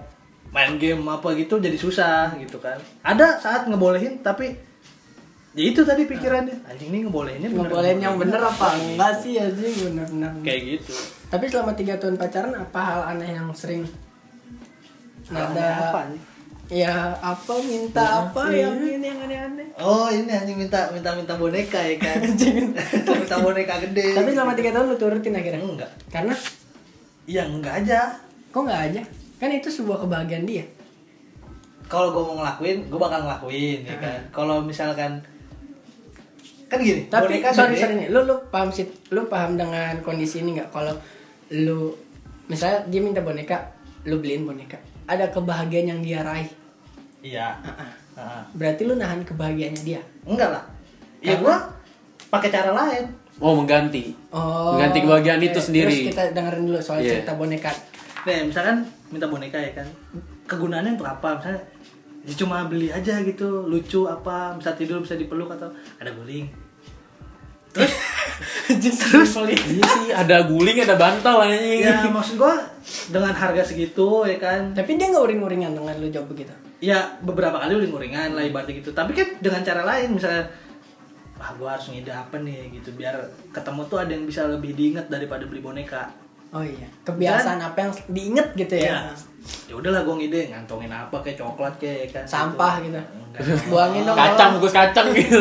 S2: main game apa gitu jadi susah gitu kan ada saat ngebolehin tapi ya itu tadi pikirannya anjing ini ngebolehinnya bener-
S1: Ah. ngebolehin yang bener apa enggak sih anjing bener-bener
S2: kayak gitu
S1: Tapi selama tiga tahun pacaran apa hal aneh yang sering?
S2: Apa
S1: Nada
S2: nih?
S1: ya apa minta apa yang ini yang aneh-aneh.
S2: Oh ini anjing minta minta minta boneka ya kan?
S1: Anjing.
S2: minta boneka gede.
S1: Tapi selama tiga tahun lu turutin akhirnya.
S3: Hmm.
S2: enggak.
S1: Karena
S2: Ya enggak aja.
S1: kok nggak aja? Kan itu sebuah kebahagiaan dia.
S2: Kalau gue mau ngelakuin, gue bakal ngelakuin ya
S1: Ah.
S2: kan. Kalau misalkan kan gini,
S1: Tapi
S2: boneka
S1: sorry
S2: gede,
S1: sorry nih, lu lu paham sih, lu paham dengan kondisi ini nggak? Kalau lu misalnya dia minta boneka, lu beliin boneka. Ada kebahagiaan yang dia raih.
S2: Iya.
S1: Heeh.
S2: Heeh.
S1: Berarti lu nahan kebahagiaannya dia.
S2: Enggak lah. Ya
S1: Karena-
S2: gue pakai cara lain.
S3: oh mengganti
S1: Oh.
S3: Mengganti kebahagiaan itu
S1: oke.
S3: sendiri.
S1: Terus kita dengerin dulu soal
S3: Iya.
S1: cerita boneka.
S2: Nih misalkan minta boneka ya kan. Kegunaannya untuk apa? Misalnya ya cuma beli aja gitu, lucu apa, bisa tidur bisa dipeluk atau ada guling.
S1: Terus Iya.
S3: iya sih ada guling ada bantal anjing
S2: Ya maksud gua dengan harga segitu ya kan
S1: Tapi dia nggak uring-uringan dengan lu jawab begitu.
S2: ya beberapa kali uring-uringan lah ibaratnya gitu tapi kan dengan cara lain misalnya ah gua harus ngide apa nih gitu biar ketemu tuh ada yang bisa lebih diinget daripada beli boneka
S1: Oh iya, kebiasaan apa yang diinget gitu ya?
S2: ya ya udahlah gua ngide ngantongin apa kayak coklat kayak ya kan
S1: Sampah gitu.
S2: Enggak.
S1: Buangin dong.
S3: Iya. kacang bungkus kacang gitu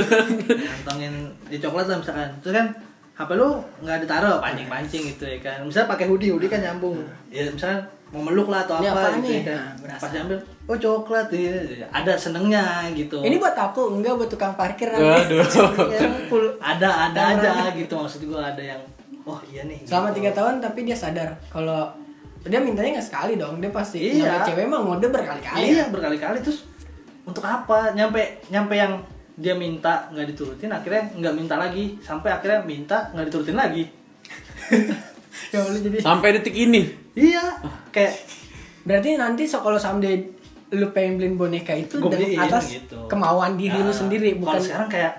S2: ngantongin di coklat lah misalkan terus kan HP lu nggak ditaruh pancing-pancing gitu ya kan misalnya pakai hoodie hoodie kan nyambung ya misalnya mau meluk lah atau
S1: Nah. Ini
S2: apa
S1: apaan
S2: gitu ya
S1: nih?
S2: kan
S1: Nah, berasa.
S2: pas diambil oh coklat ya ada senengnya gitu
S1: Ini buat aku, enggak buat tukang parkir Iya. nanti.
S3: aduh
S2: Ya, full- ada ada aja gitu maksud gue ada yang oh iya nih
S1: Selama
S2: gitu.
S1: tiga tahun tapi dia sadar kalau dia mintanya nggak sekali dong, dia pasti
S2: Iya.
S1: namanya cewek mah ngode berkali-kali.
S2: iya berkali-kali terus untuk apa nyampe nyampe yang dia minta nggak diturutin akhirnya nggak minta lagi sampai akhirnya minta nggak diturutin lagi
S1: Ya Allah, jadi
S3: sampai detik ini
S2: iya kayak
S1: berarti nanti so- kalau someday lu pengen beliin boneka itu
S2: Gua
S1: dan
S2: beliin,
S1: atas
S2: gitu.
S1: kemauan diri lu
S2: Nah,
S1: sendiri
S2: kalau
S1: bukan
S2: sekarang kayak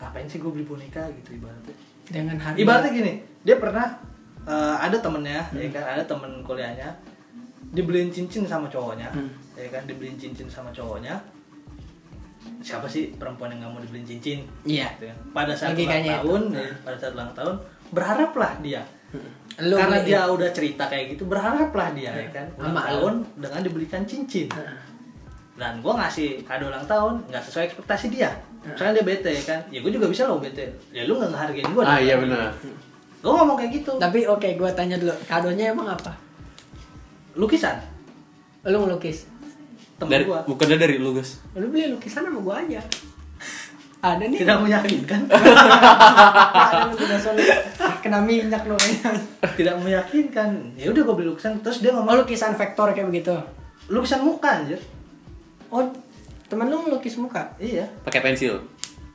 S2: ngapain sih gue beli boneka gitu ibaratnya
S1: dengan harga. Hmm.
S2: ibaratnya gini dia pernah eh, ada temennya ya kan ada temen kuliahnya dibeliin cincin sama cowoknya
S1: Hmm.
S2: ya kan dibeliin cincin sama cowoknya siapa sih perempuan yang nggak mau dibeliin cincin
S1: Iya.
S2: Gitu ya. pada saat
S1: Logikanya
S2: ulang tahun ya, pada saat ulang tahun berharaplah dia
S1: Lu
S2: karena
S1: beliin.
S2: dia udah cerita kayak gitu berharaplah dia ya kan ulang
S1: Sama lu. Hmm.
S2: tahun dengan dibelikan cincin
S1: Nah,
S2: dan gue ngasih kado ulang tahun nggak sesuai ekspektasi dia
S1: Hmm.
S2: misalnya dia bete ya kan ya gue juga bisa loh bete ya lu nggak ngehargain gue
S4: ah iya benar
S2: gue ngomong kayak gitu
S1: Tapi oke, gua tanya dulu, kadonya emang apa?
S2: lukisan
S1: Lu ngelukis?
S2: temen
S3: dari
S2: gue
S3: bukannya dari lu guys
S1: Lu beli lukisan sama gua aja. Ada nih.
S2: tidak meyakinkan
S1: ada lu udah solid. Ah, Kena minyak lu.
S2: tidak meyakinkan ya udah gue beli lukisan terus dia
S1: Oh,
S2: ngomong
S1: lukisan vektor kayak begitu.
S2: lukisan muka anjir
S1: Oh, temen lu ngelukis muka?
S2: iya
S3: pakai pensil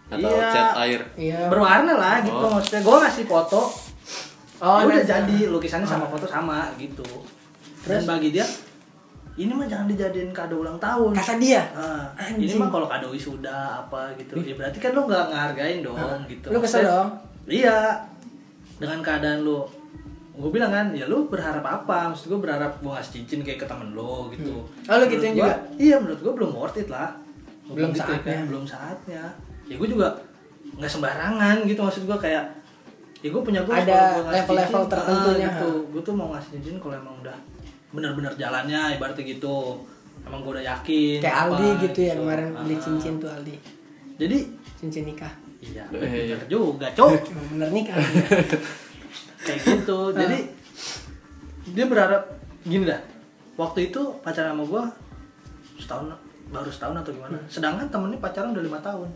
S3: atau
S2: Iya.
S3: cat air
S1: Iya.
S2: berwarna lah gitu
S3: Oh.
S2: maksudnya gue ngasih foto
S1: Oh,
S2: ya udah
S1: nah.
S2: jadi lukisannya sama foto sama gitu
S1: Terus?
S2: dan bagi dia ini mah jangan dijadiin kado ulang tahun
S1: Kata dia.
S2: Ah, ini
S1: Iya. Anjing.
S2: mah kalau kado wisuda apa gitu ya berarti kan lu nggak ngehargain dong gitu
S1: Ah, Lu kesel
S2: Maksudnya,
S1: dong?
S2: iya dengan keadaan lu gue bilang kan ya lu berharap apa maksud gue berharap gue ngasih cincin kayak ke temen lo gitu
S1: Oh, lu gituin
S2: Menurut
S1: juga?
S2: gua- iya menurut gue belum worth it lah Gua
S1: Belum
S2: bilang gitu ya
S1: saatnya.
S2: kan, belum saatnya ya gue juga nggak sembarangan gitu maksud gue kayak ya gue punya gue
S1: Ada level-level tertentunya.
S2: gitu gue tuh mau ngasih cincin kalau emang udah bener-bener jalannya ibaratnya gitu emang gue udah yakin
S1: Kayak
S2: apa,
S1: Aldi gitu ya kemarin beli
S2: Ah.
S1: cincin tuh Aldi.
S2: jadi
S1: Cincin nikah.
S2: iya
S3: Eh,
S2: bener juga cok
S1: Emang bener nikah.
S2: kayak
S1: Ah.
S2: gitu jadi dia berharap gini dah waktu itu pacaran sama gue setahun baru setahun atau gimana
S1: Hmm.
S2: sedangkan temennya pacaran udah lima tahun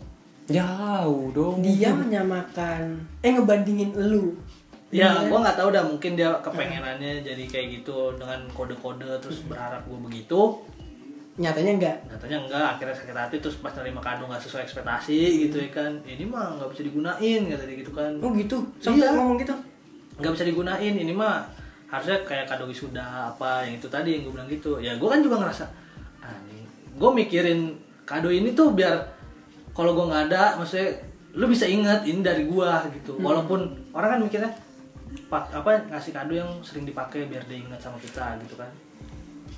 S3: jauh dong
S1: dia menyamakan eh ngebandingin lu.
S2: ya
S1: Iya.
S2: gue nggak tahu dah mungkin dia
S1: Ah.
S2: kepengenannya jadi kayak gitu dengan kode-kode
S1: Hmm.
S2: terus berharap gue begitu
S1: Nyatanya enggak.
S2: katanya enggak akhirnya sakit hati terus pas nerima kado nggak sesuai ekspektasi gitu ya kan ini mah nggak bisa digunain kata dia gitu kan
S1: Oh gitu. Sampai
S2: Iya.
S1: ngomong gitu.
S2: nggak bisa digunain ini mah harusnya kayak kado wisuda apa yang itu tadi yang gue bilang gitu ya gue kan juga ngerasa gue mikirin kado ini tuh biar kalau gue nggak ada maksudnya lu bisa ingat ini dari gua gitu walaupun orang kan mikirnya pak apa ngasih kado yang sering dipakai biar dia ingat sama kita gitu kan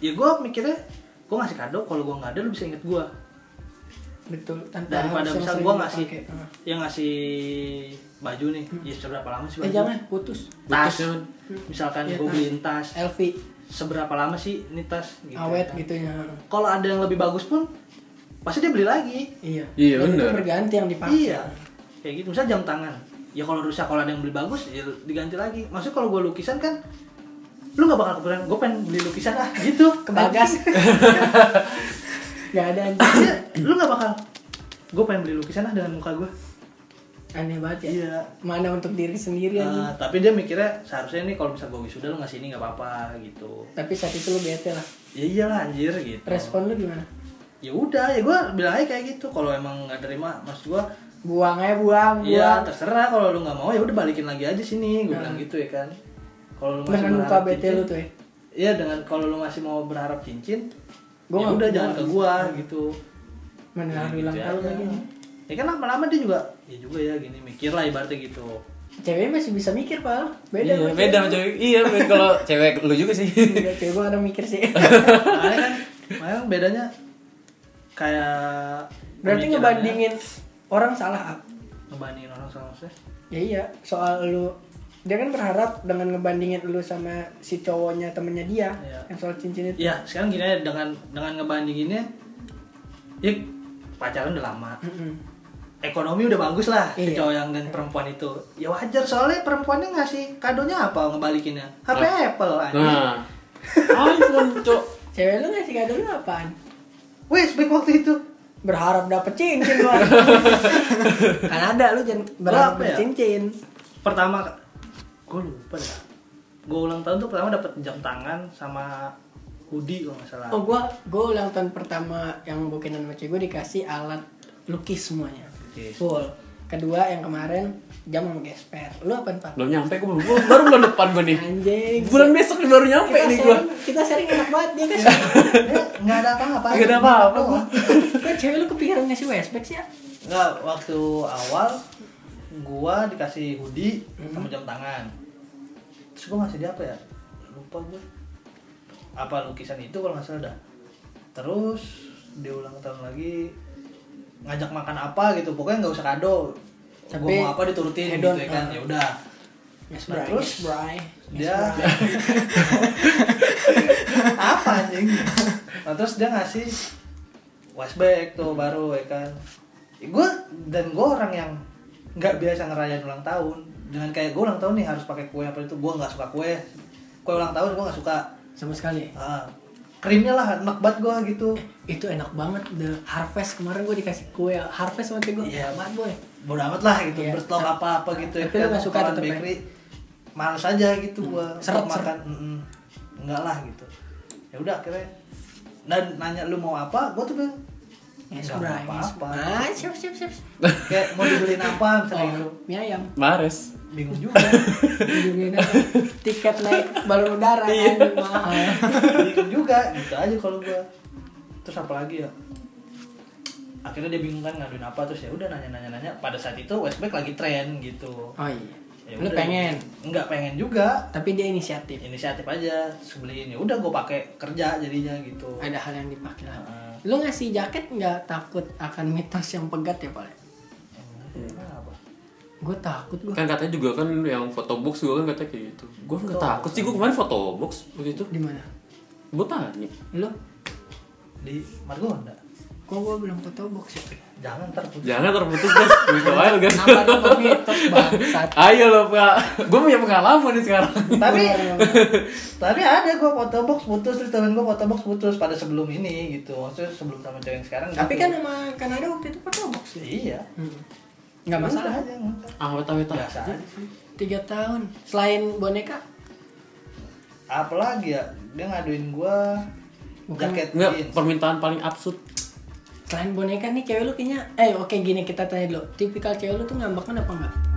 S2: ya gue mikirnya gue ngasih kado kalau gue nggak ada lu bisa inget gua
S1: Betul. Tanpa
S2: daripada
S1: harus
S2: misal
S1: sering
S2: gue ngasih
S1: dipakai. Ah.
S2: yang ngasih baju nih ya seberapa lama sih
S1: Eh
S2: baju
S1: jangan putus.
S4: Putus,
S2: tas
S4: jangan.
S2: misalkan
S1: Iya,
S2: gue
S1: tas.
S2: beliin tas
S1: Elvi
S2: seberapa lama sih ini tas gitu
S1: awet
S2: kan.
S1: gitu ya.
S2: kalau ada yang lebih bagus pun pasti dia beli lagi
S1: Iya.
S4: Iya,
S1: Dan itu
S4: bener.
S1: Berganti yang dipakai.
S2: iya kayak gitu misalnya jam tangan ya kalau rusak kalau ada yang beli bagus ya diganti lagi maksudnya kalau gue lukisan kan lu nggak bakal kepikiran gue pengen beli lukisan ah gitu
S1: Kebagas. Gak ada anjing.
S2: Iya, lu nggak bakal gue pengen beli lukisan ah dengan muka gue
S1: Aneh banget ya.
S2: iya
S1: Mana untuk diri sendiri anjing.
S2: Nah, tapi dia mikirnya seharusnya nih kalau misal gue wisuda lu ngasih ini nggak apa-apa gitu
S1: Tapi saat itu lu bete lah.
S2: ya iyalah anjir gitu
S1: Respon lu gimana?
S2: ya udah ya gue bilang aja kayak gitu kalau emang nggak terima maksud gue
S1: Buang aja buang,
S2: Iya
S1: buang.
S2: terserah kalau lu nggak mau ya udah balikin lagi aja sini gue
S1: Nah.
S2: bilang gitu ya kan. Kalau lu masih
S1: Dengan muka
S2: berharap
S1: bete
S2: cincin-
S1: lu tuh ya.
S2: Iya dengan kalau lu masih mau berharap cincin,
S1: Gua
S2: gua ya
S1: nggak-
S2: udah
S1: gua
S2: jangan ke
S1: nggak
S2: gua
S1: bisa.
S2: gitu.
S1: Mendengar
S2: Gitu
S1: ulang
S2: aja.
S1: tahun lagi. nih.
S2: Ya kan lama-lama dia juga ya juga ya gini mikir lah ibaratnya gitu.
S1: Cewek masih bisa mikir, Pak. Beda.
S3: iya, beda sama cewek iya beda kalau cewek lu juga sih
S1: Enggak, cewek gua kadang mikir sih.
S2: Makanya kan, makanya kan bedanya kayak
S1: Berarti
S2: pemikirannya,
S1: ngebandingin orang salah, Ap.
S2: ngebandingin orang sama maksudnya.
S1: Ya iya, soal lu dia kan berharap dengan ngebandingin lu sama si cowoknya temennya dia
S2: Iya.
S1: yang soal cincin itu.
S2: Ya sekarang gini aja dengan dengan ngebandinginnya, ya pacaran udah lama.
S1: Mm-mm.
S2: ekonomi udah bagus lah si
S1: Iya.
S2: cowok yang dan perempuan itu ya wajar soalnya perempuannya ngasih kadonya apa ngebalikinnya HP Apple anjing
S4: nah
S3: iPhone cok
S1: Cewek lu ngasih kado lu apaan?
S2: wes back waktu itu
S1: Berharap dapet cincin gua. kan ada lu jangan berharap
S2: apa ya?
S1: dapet cincin.
S2: pertama gue lupa ya gue ulang tahun tuh pertama dapat jam tangan sama hoodie kalau nggak salah
S1: Oh gua gua ulang tahun pertama yang bukinan sama cewek gua dikasih alat lukis semuanya.
S2: Lukis.
S1: Full. Kedua yang kemarin jam sama gesper. Lu apaan, Pak?
S4: belum nyampe gue baru, baru bulan depan gue nih
S1: Anjing.
S3: bulan besok nih baru nyampe
S1: kita
S3: nih gua
S1: sharing, kita sharing enak banget dia kan.
S2: Ya, nggak ada apa-apa
S3: Nggak ada apa-apa,
S2: Nggak,
S3: gua.
S1: Kan cewek lu kepikiran ngasih westback sih ya?
S2: nggak waktu awal gue dikasih hoodie
S1: Mm-hmm.
S2: sama jam tangan terus gue ngasih dia apa ya lupa gue apa lukisan itu kalau nggak salah dah terus diulang tahun lagi ngajak makan apa gitu pokoknya nggak usah kado gue
S1: Tapi
S2: mau apa diturutin
S1: hedon,
S2: gitu ya kan
S1: ah.
S2: ya udah
S1: Yes,
S2: Nah,
S1: Bray.
S2: terus?
S1: Yes, Bray. Iya.
S2: dia apa anjing nah, terus dia ngasih washback tuh baru ya kan gue dan gue orang yang nggak biasa ngerayain ulang tahun dengan kayak gue ulang tahun nih harus pakai kue apa itu gue nggak suka kue kue ulang tahun gue nggak suka
S1: Sama sekali.
S2: Ah, krimnya lah enak banget gue gitu
S1: Itu enak banget the harvest kemarin gue dikasih kue harvest waktu gue.
S2: Iya.
S1: banget boy.
S2: bodo amat lah gitu
S1: Iya.
S2: bertelur apa apa gitu
S1: Tapi lu nggak suka
S2: Kalau
S1: tetep ya?
S2: bakery males aja gitu gua
S1: Seret,
S2: Kalau makan mm-mm. enggak lah gitu ya udah akhirnya dan nanya lu mau apa gua tuh bilang
S1: Yes,
S2: Nggak
S1: Bray.
S2: mau
S1: Yes,
S2: apa-apa.
S1: Ya,
S2: Oh.
S1: Ah, siap siap siap.
S2: kayak mau dibeliin apa misalnya gitu
S1: Oh, mie ayam.
S3: Mares.
S2: bingung juga
S1: Dibeliin apa? Tiket naik balon udara
S2: Iya.
S1: kan, anjing, mahal.
S2: bingung juga gitu aja kalau gua terus apa lagi ya akhirnya dia bingung kan ngaduin apa terus ya udah nanya nanya nanya pada saat itu Westback lagi tren gitu
S1: Oh iya.
S2: Ya
S1: Lu
S2: udah.
S1: pengen,
S2: nggak pengen juga
S1: tapi dia inisiatif.
S2: inisiatif aja terus beliin ya udah gue pakai kerja jadinya gitu
S1: Ada hal yang dipakai lah.
S2: Heeh.
S1: Lu ngasih jaket nggak takut akan mitos yang pegat ya, Pak?
S2: Kenapa?
S1: Gue takut gue.
S3: Kan katanya juga kan yang foto box juga kan katanya kayak gitu. Gue nggak
S2: Foto
S3: takut sih, gue kemarin foto box waktu itu.
S1: Di mana?
S3: Gue tanya.
S1: Lu?
S2: di Margonda
S1: Kok gue belum foto box ya?
S2: jangan terputus
S3: Jangan terputus guys, gue cobain guys.
S1: Apa nama mitos bangsat?
S3: Gitu Ayo loh pak, gue punya pengalaman nih sekarang.
S2: tapi
S1: Iya.
S2: tapi ada gue foto box putus terus temen gue foto box putus pada sebelum ini gitu maksudnya sebelum sama cewek yang sekarang
S1: Tapi
S2: gitu.
S1: kan sama Kanada waktu itu foto box ya?
S2: iya Ya
S1: Nggak masalah.
S2: Udah aja nggak.
S3: Awet awet
S2: biasa
S3: aja.
S2: aja sih
S1: Tiga tahun. Selain boneka,
S2: apalagi ya dia ngaduin gue
S1: Bukan.
S2: jaket
S3: Enggak,
S2: jeans
S3: permintaan paling absurd.
S1: selain boneka nih cewek lu kayaknya eh oke gini kita tanya dulu tipikal cewek lu tuh ngambek apa enggak